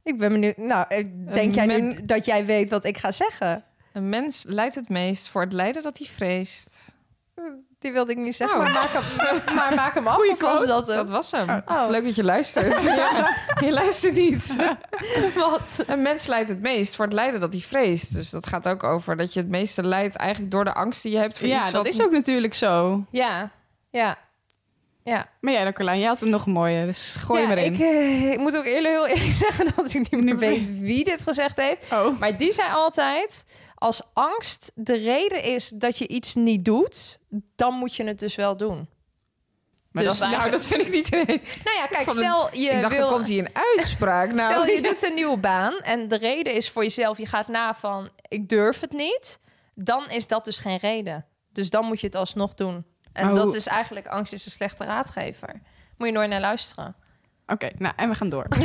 Ik ben benieuwd. Nou, eh, denk jij nu men- dat jij weet wat ik ga zeggen? Een mens lijdt het meest voor het lijden dat hij vreest. Die wilde ik niet zeggen, Oh. maar, maak hem, maar maak hem af. of was dat hem? Dat was hem. Oh. Leuk dat je luistert. Ja, je luistert niet. Wat? Een mens lijdt het meest voor het lijden dat hij vreest. Dus dat gaat ook over dat je het meeste lijdt eigenlijk door de angst die je hebt voor ja, iets dat wat- is ook natuurlijk zo. Ja, ja. Ja, Maar jij dan, Carlijn, jij had hem nog een mooie, dus gooi ja maar in. ik, eh, ik moet ook eerlijk, heel eerlijk zeggen dat ik niet meer weet wie dit gezegd heeft. Oh. Maar die zei altijd, als angst de reden is dat je iets niet doet, dan moet je het dus wel doen. Maar dus- dat is Nou, eigenlijk- dat vind ik niet... Nou ja, kijk, Van een- stel je ik dacht, wil... er komt hier een uitspraak. Nou, Stel je doet een nieuwe baan en de reden is voor jezelf, je gaat na van ik durf het niet, dan is dat dus geen reden. Dus dan moet je het alsnog doen. En Oh. Maar dat hoe- is eigenlijk angst is een slechte raadgever. Moet je nooit naar luisteren. Oké, nou, en we gaan door.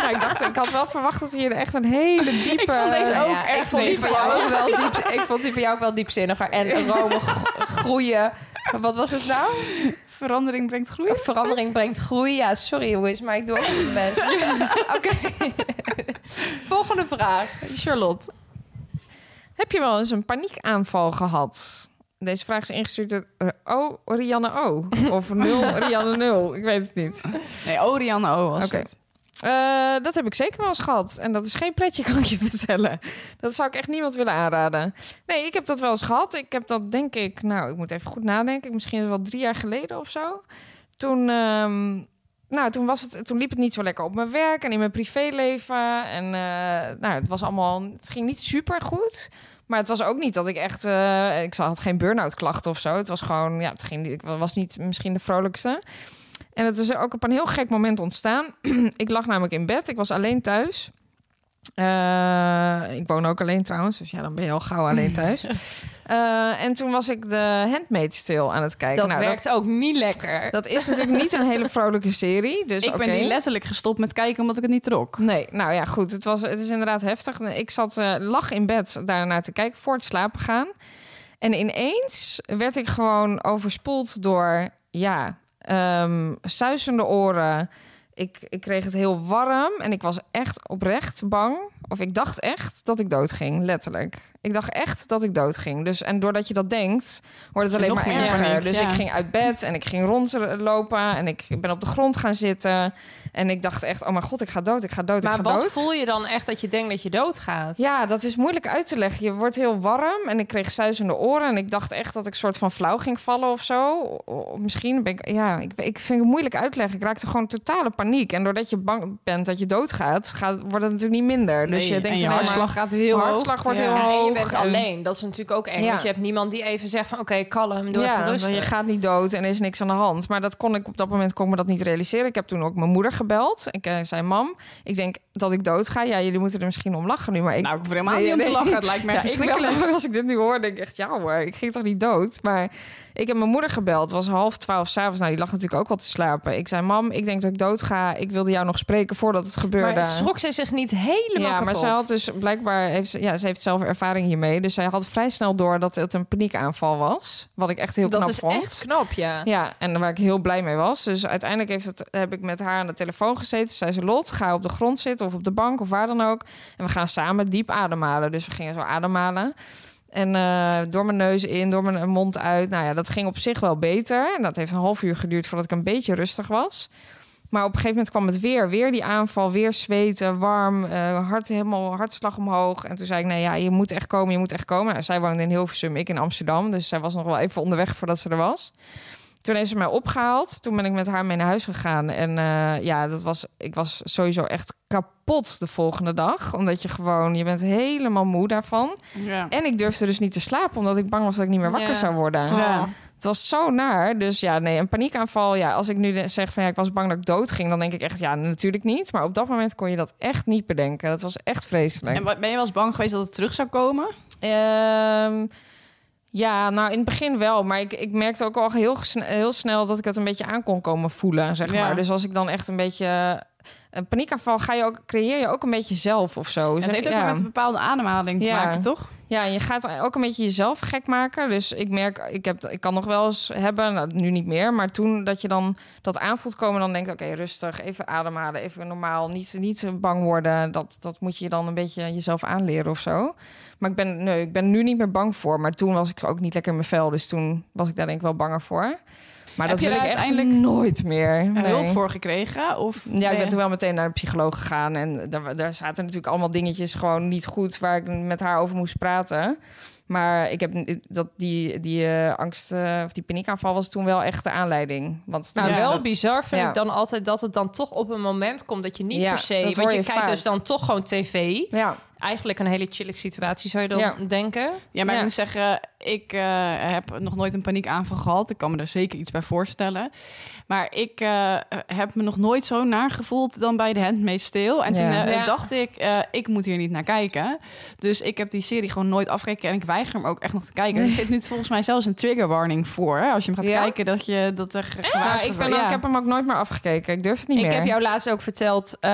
Nou, ik dacht, ik had wel verwacht dat hier echt een hele diepe... deze ook ja, ik erg vond die van jou tegenvallen. ook wel diep, ik vond die van jou ook wel diepzinniger en Rome gro- groeien. Wat was het nou? Verandering brengt groei. Verandering brengt groei. Ja, sorry Louis, maar ik doe ook mijn best. Oké. Volgende vraag. Charlotte. Heb je wel eens een paniekaanval gehad? Deze vraag is ingestuurd door eh, O, Rianne O. Of 0, Rianne 0. Ik weet het niet. Nee, Oriane O was Oké. het. Eh, dat heb ik zeker wel eens gehad. En dat is geen pretje, kan ik je vertellen. Dat zou ik echt niemand willen aanraden. Nee, ik heb dat wel eens gehad. Ik heb dat, denk ik, nou, ik moet even goed nadenken. Misschien wel drie jaar geleden of zo. Toen, ehm, nou, toen, was het, toen liep het niet zo lekker op mijn werk en in mijn privéleven. En eh, nou, het was allemaal, het ging niet super goed. Maar het was ook niet dat ik echt, eh, ik had geen burn-out klachten of zo. Het was gewoon, ja, het ging, niet- ik was niet misschien de vrolijkste. En het is ook op een heel gek moment ontstaan. ik lag namelijk in bed. Ik was alleen thuis. Eh, ik woon ook alleen trouwens, dus ja, dan ben je al gauw alleen thuis. Eh, en toen was ik de Handmaid's stil aan het kijken. Dat Nou, werkt ook niet lekker. dat is natuurlijk niet een hele vrolijke serie. Dus ik ben oké. hier letterlijk gestopt met kijken omdat ik het niet trok. Nee, nou ja, goed. Het, was, het is inderdaad heftig. Ik zat, eh, lag in bed daarnaar te kijken voor het slapen gaan. En ineens werd ik gewoon overspoeld door, ja, ehm suizende oren. Ik, ik kreeg het heel warm en ik was echt oprecht bang. Of ik dacht echt dat ik doodging, letterlijk. Ik dacht echt dat ik doodging. Dus, en doordat je dat denkt, wordt het je alleen nog maar meer erger. paniek, dus ja. ik ging uit bed en ik ging rondlopen en ik ben op de grond gaan zitten. En ik dacht echt, oh mijn god, ik ga dood, ik ga dood, ik Maar ga wat dood. voel je dan echt dat je denkt dat je doodgaat? Ja, dat is moeilijk uit te leggen. Je wordt heel warm en ik kreeg suizende oren. En ik dacht echt dat ik soort van flauw ging vallen of zo. O- Misschien ben ik... Ja, ik, ik vind het moeilijk uitleggen. Ik raakte gewoon totale paniek. En doordat je bang bent dat je doodgaat, gaat, wordt het natuurlijk niet minder. Dus je Nee, en denkt je alleen maar, hartslag gaat heel mijn hoog. hartslag wordt Ja. heel Ja, hoog. en je bent en- alleen. Dat is natuurlijk ook eng. Ja. Want je hebt niemand die even zegt van... oké, kalm, doe even Ja, rustig. want je gaat niet dood en er is niks aan de hand. Maar dat kon ik op dat moment kon ik me dat niet realiseren. Ik heb toen ook mijn moeder gebeld. Ik eh, zei: Mam, ik denk dat ik dood ga. Ja, jullie moeten er misschien om lachen nu. Maar ik nou, ik hoef er helemaal Nee, niet om te nee. lachen. Het lijkt me Ja, echt ik wel, verschrikkelijk. als ik dit nu hoor, denk ik echt, ja hoor, ik ging toch niet dood? Maar ik heb mijn moeder gebeld, het was half twaalf s'avonds. Nou, die lag natuurlijk ook al te slapen. Ik zei, mam, ik denk dat ik dood ga. Ik wilde jou nog spreken voordat het gebeurde. maar schrok zij zich niet helemaal ja, maar kapot? ze had dus blijkbaar, heeft, ze- ja, ze heeft zelf ervaring hiermee. Dus zij had vrij snel door dat het een paniekaanval was. Wat ik echt heel dat knap is vond. echt knap, ja. Ja, en waar ik heel blij mee was. Dus uiteindelijk heeft het, heb ik met haar aan de telefoon gezeten. Zei ze, Lot, ga op de grond zitten of op de bank of waar dan ook. En we gaan samen diep ademhalen. Dus we gingen zo ademhalen. En eh, door mijn neus in, door mijn mond uit. Nou ja, dat ging op zich wel beter. En dat heeft een half uur geduurd voordat ik een beetje rustig was. Maar op een gegeven moment kwam het weer. Weer die aanval, weer zweten, warm, eh, hart helemaal hartslag omhoog. En toen zei ik, nou ja, je moet echt komen, je moet echt komen. Nou, zij woonde in Hilversum, ik in Amsterdam. Dus zij was nog wel even onderweg voordat ze er was. Toen heeft ze mij opgehaald. Toen ben ik met haar mee naar huis gegaan. En eh, ja, dat was, ik was sowieso echt kapot de volgende dag. Omdat je gewoon, je bent helemaal moe daarvan. Ja. En ik durfde dus niet te slapen, omdat ik bang was dat ik niet meer wakker Ja. zou worden. Ja. Het was zo naar. Dus ja, nee, een paniekaanval. Ja, als ik nu zeg van ja, ik was bang dat ik dood ging, dan denk ik echt ja, natuurlijk niet. Maar op dat moment kon je dat echt niet bedenken. Dat was echt vreselijk. En wat- ben je wel eens bang geweest dat het terug zou komen? Ehm, ja, nou in het begin wel. Maar ik, ik merkte ook al heel, gesne- heel snel dat ik het een beetje aan kon komen voelen, zeg Ja. maar. Dus als ik dan echt een beetje... eh, Een paniekaanval ga je ook, creëer je ook een beetje zelf of zo. het Zeg- heeft ook ja. maar met een bepaalde ademhaling Ja. te maken, toch? Ja, en je gaat ook een beetje jezelf gek maken. Dus ik merk, ik, heb, ik kan nog wel eens hebben, nou, nu niet meer, maar toen dat je dan dat aanvoelt komen, dan denkt, oké, rustig, even ademhalen, even normaal, niet, niet bang worden. Dat, dat moet je dan een beetje jezelf aanleren of zo. Maar ik ben, nee, ik ben nu niet meer bang voor, maar toen was ik ook niet lekker in mijn vel, dus toen was ik daar denk ik wel banger voor. Maar Heb dat je wil ik daar uiteindelijk uiteindelijk nooit meer. Er Nee. Hulp voor gekregen? Of Ja, ik ben Nee. toen wel meteen naar de psycholoog gegaan. En daar, daar zaten natuurlijk allemaal dingetjes gewoon niet goed waar ik met haar over moest praten. Maar ik heb n- dat die, die eh, angst eh, of die paniekaanval was toen wel echt de aanleiding. Want dus Maar Ja. Nou, wel bizar vind Ja. ik dan altijd dat het dan toch op een moment komt dat je niet Ja, per se... dat Want je, hoor je kijkt vaak. dus dan toch gewoon tv. ja, Eigenlijk een hele chillig situatie zou je dan Ja. denken. Ja, maar Ja. ik moet zeggen, ik eh, heb nog nooit een paniekaanval gehad. Ik kan me daar zeker iets bij voorstellen. Maar ik eh, heb me nog nooit zo naar gevoeld dan bij de Handmaid's Tale. En toen Ja. eh, Ja. dacht ik, eh, ik moet hier niet naar kijken. Dus ik heb die serie gewoon nooit afgekeken. En ik weiger hem ook echt nog te kijken. Er zit nu volgens mij zelfs een trigger warning voor. hè, Als je hem gaat Ja? kijken, dat je dat er ge- maar gewaarschuwd ik, ben, wordt. ook- Ja. ik heb hem ook nooit meer afgekeken. Ik durf het niet Ik meer. heb jou laatst ook verteld, eh,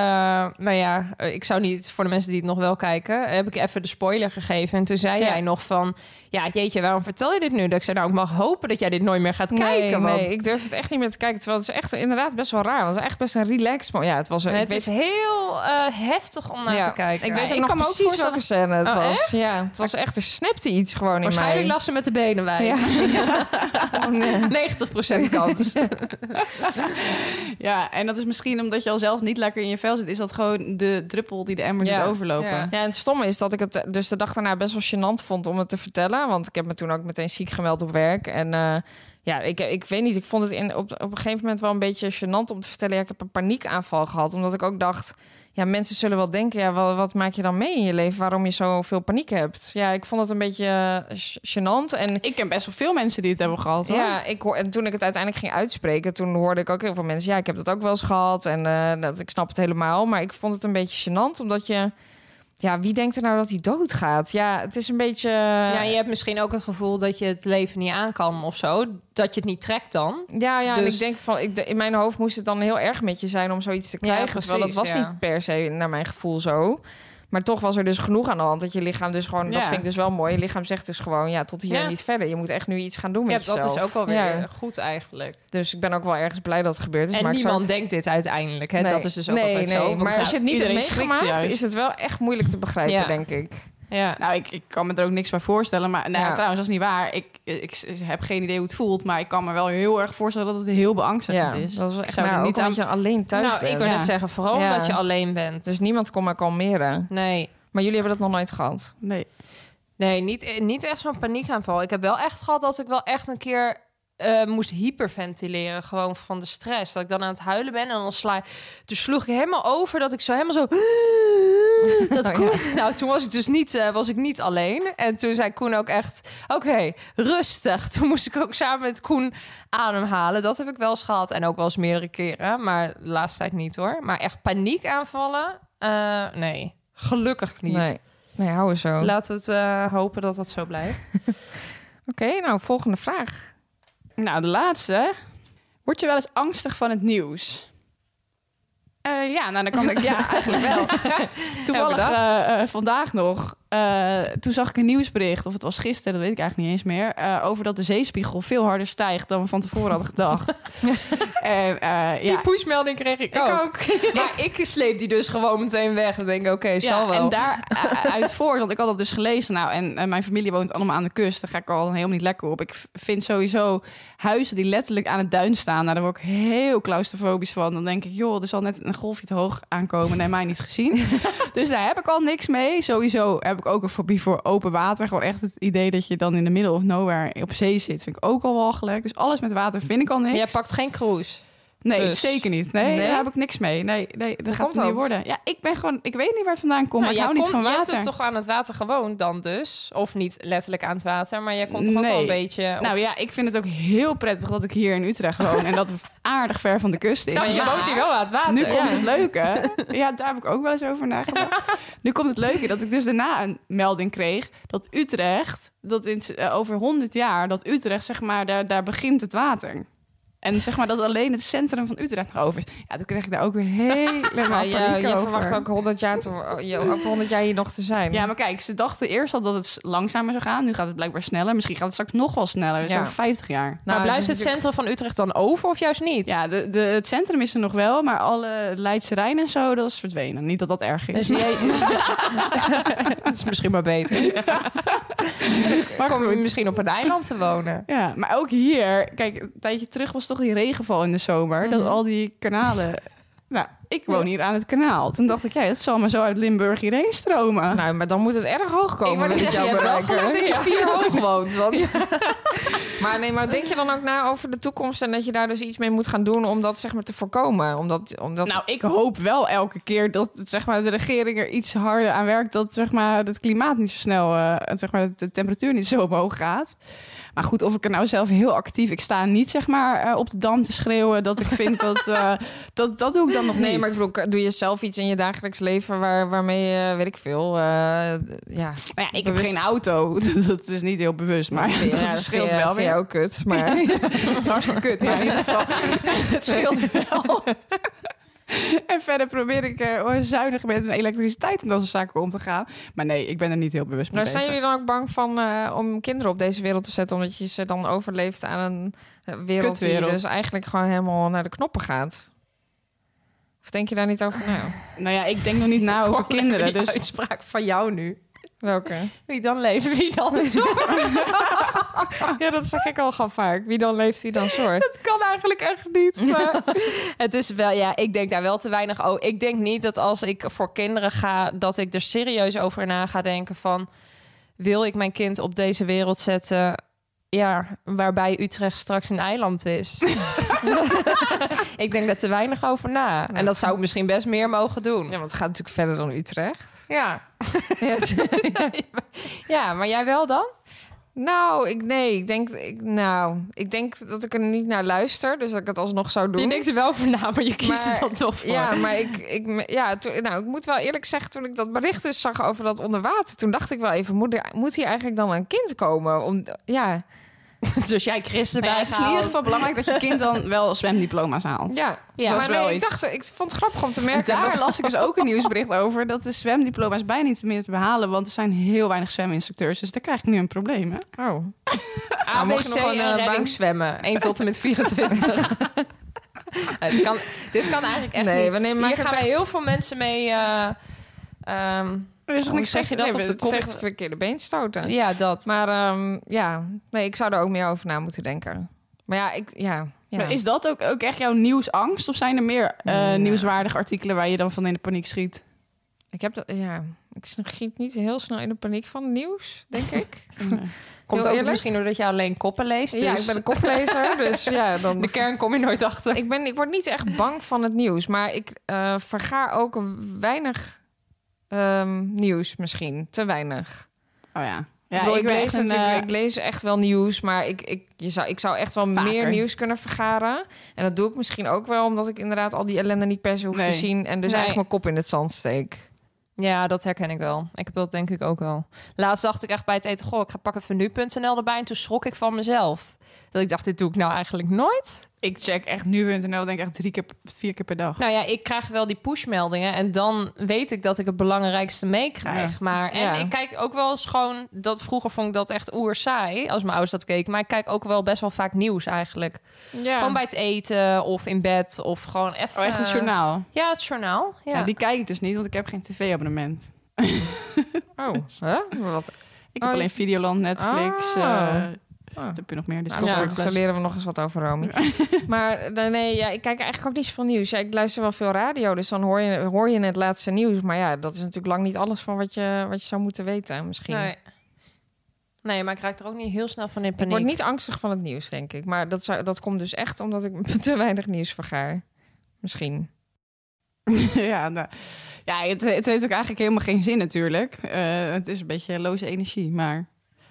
nou ja, eh, ik zou niet voor de mensen die het nog wel kijken, heb ik even de spoiler gegeven. En toen zei Ja. jij nog van, ja jeetje, waarom vertel je dit nu? Dat ik zei, nou ik mag hopen dat jij dit nooit meer gaat kijken. nee, want nee, ik durf het echt niet meer te kijken. Terwijl het is echt inderdaad best wel raar. Want het is echt best een relaxed moment. Ja, het was... het ik weet- is heel eh, heftig om naar ja, te kijken. Ik weet Ja, ook ik nog kan me precies voorstellen- welke scène het Oh, was. Ja, het was echt... Er snipte iets gewoon in mij. Waarschijnlijk lag ze met de benen wijd. Ja. Oh, nee. 90% kans. Ja, en dat is misschien omdat je al zelf niet lekker in je vel zit, is dat gewoon de druppel die de emmer Ja. doet overlopen. Ja. Ja, en het stomme is dat ik het eh, dus de dag daarna best wel gênant vond om het te vertellen. Want ik heb me toen ook meteen ziek gemeld op werk. En eh, ja, ik, ik weet niet. Ik vond het in, op, op een gegeven moment wel een beetje gênant om te vertellen. Ja, ik heb een paniekaanval gehad. Omdat ik ook dacht, ja, mensen zullen wel denken... Ja, wat, wat maak je dan mee in je leven? Waarom je zoveel paniek hebt? Ja, ik vond het een beetje eh, g- gênant. En Ik ken best wel veel mensen die het hebben gehad. Hoor. ja, ik hoor, en toen ik het uiteindelijk ging uitspreken, toen hoorde ik ook heel veel mensen. Ja, ik heb dat ook wel eens gehad. En eh, dat, ik snap het helemaal. Maar ik vond het een beetje gênant, omdat je. Ja, wie denkt er nou dat hij doodgaat? Ja, het is een beetje. Ja, Ja, je hebt misschien ook het gevoel dat je het leven niet aan kan of zo. Dat je het niet trekt dan. ja, en dus- ik denk van. Ik, de- in mijn hoofd moest het dan heel erg met je zijn om zoiets te krijgen. terwijl dat precies, was ja. niet per se naar mijn gevoel zo. Maar toch was er dus genoeg aan de hand dat je lichaam dus gewoon. Ja. Dat vind ik dus wel mooi. Je lichaam zegt dus gewoon: ja, tot hier Ja. en niet verder. Je moet echt nu iets gaan doen Ja, met jezelf. dat is ook wel weer Ja, goed eigenlijk. dus ik ben ook wel ergens blij dat het gebeurd is. en maar ik zou niemand het- denkt dit uiteindelijk. Hè? Nee. Dat is dus ook nee, altijd nee. zo. want Maar als je het niet hebt iedereen schrikt meegemaakt, juist. is het wel echt moeilijk te begrijpen, Ja. denk ik. ja. Nou, ik, ik kan me er ook niks bij voorstellen. Maar nou, Ja. trouwens, dat is niet waar. Ik, ik s- heb geen idee hoe het voelt. Maar ik kan me wel heel erg voorstellen dat het heel beangstigend Ja, is. nou dat was Ik echt zou maar er niet niet aan... aan... je alleen thuis nou, ik bent. wil net Ja. zeggen, vooral Ja. omdat je alleen bent. Dus niemand kon me kalmeren. nee. Maar jullie hebben dat nog nooit gehad. Nee. Nee, niet, eh, niet echt zo'n paniekaanval. Ik heb wel echt gehad dat ik wel echt een keer eh, moest hyperventileren. Gewoon van de stress. Dat ik dan aan het huilen ben en dan sla Toen sloeg ik helemaal over dat ik zo helemaal zo... Dat Oh, Koen, Nou, toen was ik dus niet, eh, was ik niet alleen. En toen zei Koen ook echt, oké, rustig. Toen moest ik ook samen met Koen ademhalen. Dat heb ik wel eens gehad. En ook wel eens meerdere keren. Maar de laatste tijd niet hoor. Maar echt paniekaanvallen? Eh, nee, gelukkig niet. Nee. Nee, hou eens zo. Oké, Laten we het eh, hopen dat dat zo blijft. nou, volgende vraag. Nou, de laatste. Word je wel eens angstig van het nieuws? Eh, ja, nou dan kan ik ja, eigenlijk wel. Toevallig Elke dag. eh, eh, vandaag nog. eh, toen zag ik een nieuwsbericht, of het was gisteren, dat weet ik eigenlijk niet eens meer. eh, over dat de zeespiegel veel harder stijgt dan we van tevoren hadden gedacht. en eh, ja, Die pushmelding kreeg ik, ook. Maar ik sleep die dus gewoon meteen weg. Dan denk ik, oké, Ja, zal wel. En daaruit voort, want ik had dat dus gelezen. Nou, en eh, mijn familie woont allemaal aan de kust. Daar ga ik al helemaal niet lekker op. Ik v- vind sowieso huizen die letterlijk aan het duin staan. Nou, daar word ik heel claustrofobisch van. Dan denk ik, joh, er zal net een golfje te hoog aankomen. Nee, mij niet gezien. dus daar heb ik al niks mee. Sowieso heb ik ook een fobie voor open water. Gewoon echt het idee dat je dan in de middle of nowhere op zee zit. Vind ik ook al walgelijk. Dus alles met water vind ik al niks. Jij pakt geen cruise. Oh, Nee, Dus. zeker niet. Nee, Nee? daar heb ik niks mee. Nee, nee dat gaat komt het niet dat? worden. Ja, ik ben gewoon... Ik weet niet waar het vandaan komt, maar ik hou niet van Nou, Je water. hebt dus toch aan het water gewoond dan dus? Of niet letterlijk aan het water, maar jij komt toch ook Nee. wel een beetje... of- Nou ja, ik vind het ook heel prettig dat ik hier in Utrecht woon en dat het aardig ver van de kust is. Ja, maar je Maar woont hier wel aan het water. Nu komt het leuke. Ja, daar heb ik ook wel eens over nagedacht. Nu komt het leuke dat ik dus daarna een melding kreeg dat Utrecht, dat in, eh, over 100 jaar, dat Utrecht zeg maar, daar, daar begint het water. En zeg maar dat alleen het centrum van Utrecht nog over is. Ja, toen kreeg ik daar ook weer Maar helemaal paniek je, je over. verwacht ook 100 jaar, te, je, ook 100 jaar hier nog te zijn. Ja, maar kijk, ze dachten eerst al dat het s- langzamer zou gaan. Nu gaat het blijkbaar sneller. Misschien gaat het straks nog wel sneller. Dus Ja. over 50 jaar. Maar Nou, blijft het, is natuurlijk- centrum van Utrecht dan over of juist niet? dus Ja, de, de, het centrum is er nog wel, maar alle Leidse Rijn en zo, dat is verdwenen. Niet dat dat erg Dus is. jij... dat is misschien maar beter. maar Kom je goed. misschien op een eiland te wonen. Ja, maar ook hier, kijk, een tijdje terug was toch die regenval in de zomer. Mhm. Dat al die kanalen... nou, ik woon hier aan het kanaal. Toen dacht ik, ja, het zal maar zo uit Limburg hierheen stromen. Nou, maar dan moet het erg hoog komen. ik wou net met zeggen, je jouw hebt wel bereiken. geluk dat je vier hoog woont. Want Maar nee, maar denk je dan ook na over de toekomst en dat je daar dus iets mee moet gaan doen om dat zeg maar te voorkomen? Omdat, omdat Nou, ik hoop wel elke keer dat het, zeg maar, de regering er iets harder aan werkt. Dat zeg maar, het klimaat niet zo snel, eh, zeg maar, dat de temperatuur niet zo omhoog gaat. Maar goed, of ik er nou zelf heel actief. Ik sta niet zeg maar, eh, op de dam te schreeuwen dat ik vind dat, eh, dat. Dat doe ik dan nog Nee, niet. maar ik bedoel, doe je zelf iets in je dagelijks leven waar, waarmee je, weet ik veel, eh, ja. Nou ja, ik bewust- heb geen auto. dat is niet heel bewust. Maar dat ja, scheelt vind je- wel vind je weer. ook kut, maar Hartstikke kut. Maar in ieder geval, het scheelt wel. En verder probeer ik eh, zuinig met mijn elektriciteit en dat soort zaken om te gaan. Maar nee, ik ben er niet heel bewust mee Maar bezig. Nou, zijn jullie dan ook bang van eh, om kinderen op deze wereld te zetten, omdat je ze dan overleeft aan een eh, wereld die Kutwereld. dus eigenlijk gewoon helemaal naar de knoppen gaat? Of denk je daar niet over na? Nou ja, ik denk nog niet na over kinderen. Die Dus uitspraak van jou nu. Welke? Wie dan leven, wie dan zorgt. ja, dat zeg ik al gauw vaak. Wie dan leeft, wie dan zorgt. Dat kan eigenlijk echt niet. Maar het is wel, ja, ik denk daar wel te weinig over. Ik denk niet dat als ik voor kinderen ga, dat ik er serieus over na ga denken van... wil ik mijn kind op deze wereld zetten... Ja, waarbij Utrecht straks een eiland is. ik denk daar te weinig over na. En dat zou ik misschien best meer mogen doen. Ja, want het gaat natuurlijk verder dan Utrecht. Ja. ja, maar jij wel dan? Nou, ik, nee, ik denk, ik, nou, ik denk dat ik er niet naar luister, dus dat ik het alsnog zou doen. Je denkt er wel voor na, maar je kiest Maar- er dan toch voor. Ja, maar ik, ik, ja, toen- nou, ik moet wel eerlijk zeggen, toen ik dat bericht dus zag over dat onderwater, toen dacht ik wel even, moet, er, moet hier eigenlijk dan een kind komen? Om, ja, Dus jij christen Nou ja, het is in ieder geval belangrijk dat je kind dan wel zwemdiploma's haalt. ja. Ja, maar dat is nee, wel ik iets. dacht, ik vond het grappig om te merken. Daar dat, las ik dus ook een nieuwsbericht over dat de zwemdiploma's bijna niet meer te behalen, want er zijn heel weinig zweminstructeurs. Dus daar krijg ik nu een probleem. Hè? oh. ABC mocht je nog gewoon, eh, en baan- redding zwemmen. 1 tot en met 24. het kan, dit kan eigenlijk echt Nee, niet. we nemen- Hier maken gaan het wij heel veel mensen mee... eh, ehm, Er is Hoe zeg je dat op de het kop? vecht verkeerde been stoten. ja, dat. Maar ehm, ja, nee, ik zou er ook meer over na moeten denken. Maar ja, ik, ja. ja. Maar is dat ook, ook echt jouw nieuwsangst? Of zijn er meer eh, nieuwswaardige artikelen waar je dan van in de paniek schiet? Ik heb dat, ja, ik schiet niet heel snel in de paniek van het nieuws, denk ik. Oh Komt heel ook eerlijk? misschien doordat je alleen koppen leest. Dus Ja, ik ben een koplezer, dus ja, dan de kern kom je nooit achter. ik, ben, ik word niet echt bang van het nieuws, maar ik eh, verga ook weinig ehm, nieuws misschien. Te weinig. Oh ja. Ik ja bedoel, ik, ben lees echt een, natuurlijk, eh, ik lees echt wel nieuws, maar ik, ik, je zou, ik zou echt wel Vaker. meer nieuws kunnen vergaren. En dat doe ik misschien ook wel, omdat ik inderdaad al die ellende niet per se hoef Nee. te zien. En dus Nee. eigenlijk mijn kop in het zand steek. Ja, dat herken ik wel. Ik heb dat denk ik ook wel. Laatst dacht ik echt bij het eten, goh, ik ga pakken van nu.nl erbij. En toen schrok ik van mezelf. Dat ik dacht, dit doe ik nou eigenlijk nooit. ik check echt nu.nl denk ik echt drie keer, vier keer per dag. Nou ja, ik krijg wel die pushmeldingen en dan weet ik dat ik het belangrijkste meekrijg. Ja. Maar en Ja. ik kijk ook wel eens gewoon dat vroeger vond ik dat echt oerzaai als mijn ouders dat keken, maar ik kijk ook wel best wel vaak nieuws eigenlijk. Ja. Gewoon bij het eten of in bed of gewoon even. oh, echt het journaal. Ja, het journaal. Ja. Ja, die kijk ik dus niet, want ik heb geen tv-abonnement. Oh, hè? Maar Wat? Ik Oh, heb alleen je- Videoland, Netflix. eh Ah. Ah. Wat heb je nog meer? Dus Nou, Ja. ja, Discovery zo Plus. leren we nog eens wat over Romy. maar eh, nee, ja, ik kijk eigenlijk ook niet zoveel nieuws. Ja, ik luister wel veel radio, dus dan hoor je, hoor je het laatste nieuws. Maar ja, dat is natuurlijk lang niet alles van wat je, wat je zou moeten weten misschien. nee. nee, maar ik raak er ook niet heel snel van in Ik paniek. word niet angstig van het nieuws, denk ik. Maar dat, zou, dat komt dus echt omdat ik te weinig nieuws vergaar. Misschien. ja, nou, ja het, het heeft ook eigenlijk helemaal geen zin natuurlijk. Eh, het is een beetje loze energie, maar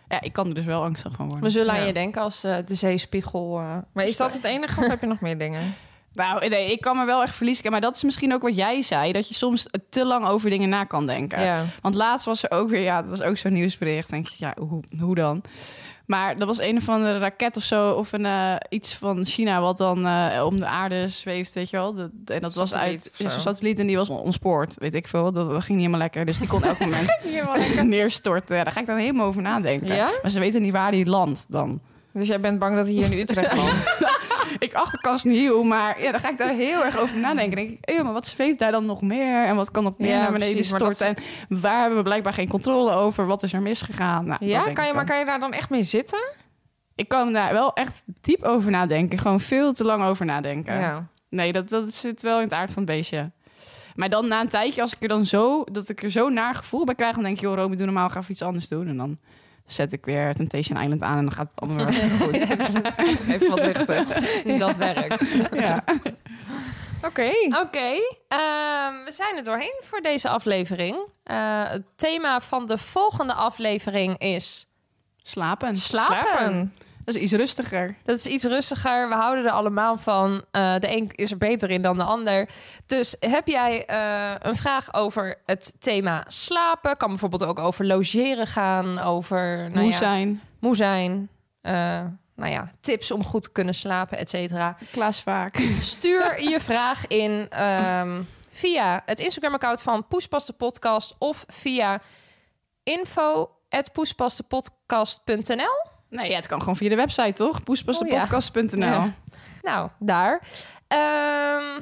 ja, ik kan er dus wel angstig van worden. We zullen aan Ja. je denken als eh, de zeespiegel. eh, Maar is dat het enige of heb je nog meer dingen? Nou, nee, ik kan me wel echt verliezen. Maar dat is misschien ook wat jij zei, dat je soms te lang over dingen na kan denken. Want laatst was er ook weer, ja, dat was ook zo'n nieuwsbericht. Denk je, ja, hoe, hoe dan? Maar dat was een of andere raket of zo, of een, eh, iets van China wat dan eh, om de aarde zweeft, weet je wel. Dat, en dat was Satelliet uit of ja, zo. zo'n satelliet en die was on- ontspoord, weet ik veel. Dat, dat ging niet helemaal lekker, dus die kon elk moment neerstorten. Ja, daar ga ik dan helemaal over nadenken. Ja? Maar ze weten niet waar die landt dan. Dus jij bent bang dat hij hier in Utrecht landt? Ik achterkast nieuw, maar ja, daar ga ik daar heel erg over nadenken. Dan Denk ik, "Eeuw, maar wat zweeft daar dan nog meer? En wat kan op meer Ja, naar beneden precies, maar storten? En waar hebben we blijkbaar geen controle over? Wat is er misgegaan? Nou, dat ja, denk kan je, ik maar dan. kan je daar dan echt mee zitten? Ik kan daar wel echt diep over nadenken. Gewoon veel te lang over nadenken. Ja. Nee, dat, dat zit wel in het aard van het beestje. Maar dan na een tijdje, als ik er dan zo, dat ik er zo naar gevoel bij krijg, dan denk ik, joh, Romy, doe normaal, ga even iets anders doen. En dan zet ik weer Temptation Island aan en dan gaat het allemaal weer goed. Even wat lichter. Dat werkt. ja. Oké. Oké, ehm, we zijn er doorheen voor deze aflevering. Eh, het thema van de volgende aflevering is Slapen. slapen. Dat is iets rustiger. Dat is iets rustiger. We houden er allemaal van. Eh, de een is er beter in dan de ander. Dus heb jij eh, een vraag over het thema slapen? Kan bijvoorbeeld ook over logeren gaan, over nou Moe ja, zijn. moe zijn. Eh, nou ja, tips om goed te kunnen slapen, et cetera. Klaas vaak. Stuur je vraag in ehm, via het Instagram-account van Poespas de Podcast of via info.poespasdepodcast.nl. Nee, ja, het kan gewoon via de website, toch? Poespasdepodcast.nl. Oh, ja. Nou, daar. Ehm,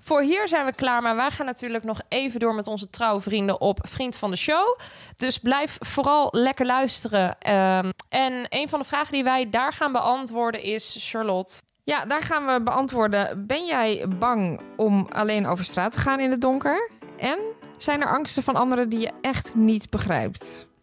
voor hier zijn we klaar, maar wij gaan natuurlijk nog even door met onze trouwe vrienden op Vriend van de Show. Dus blijf vooral lekker luisteren. Ehm, en een van de vragen die wij daar gaan beantwoorden is, Charlotte, Ja, daar gaan we beantwoorden. Ben jij bang om alleen over straat te gaan in het donker? En zijn er angsten van anderen die je echt niet begrijpt?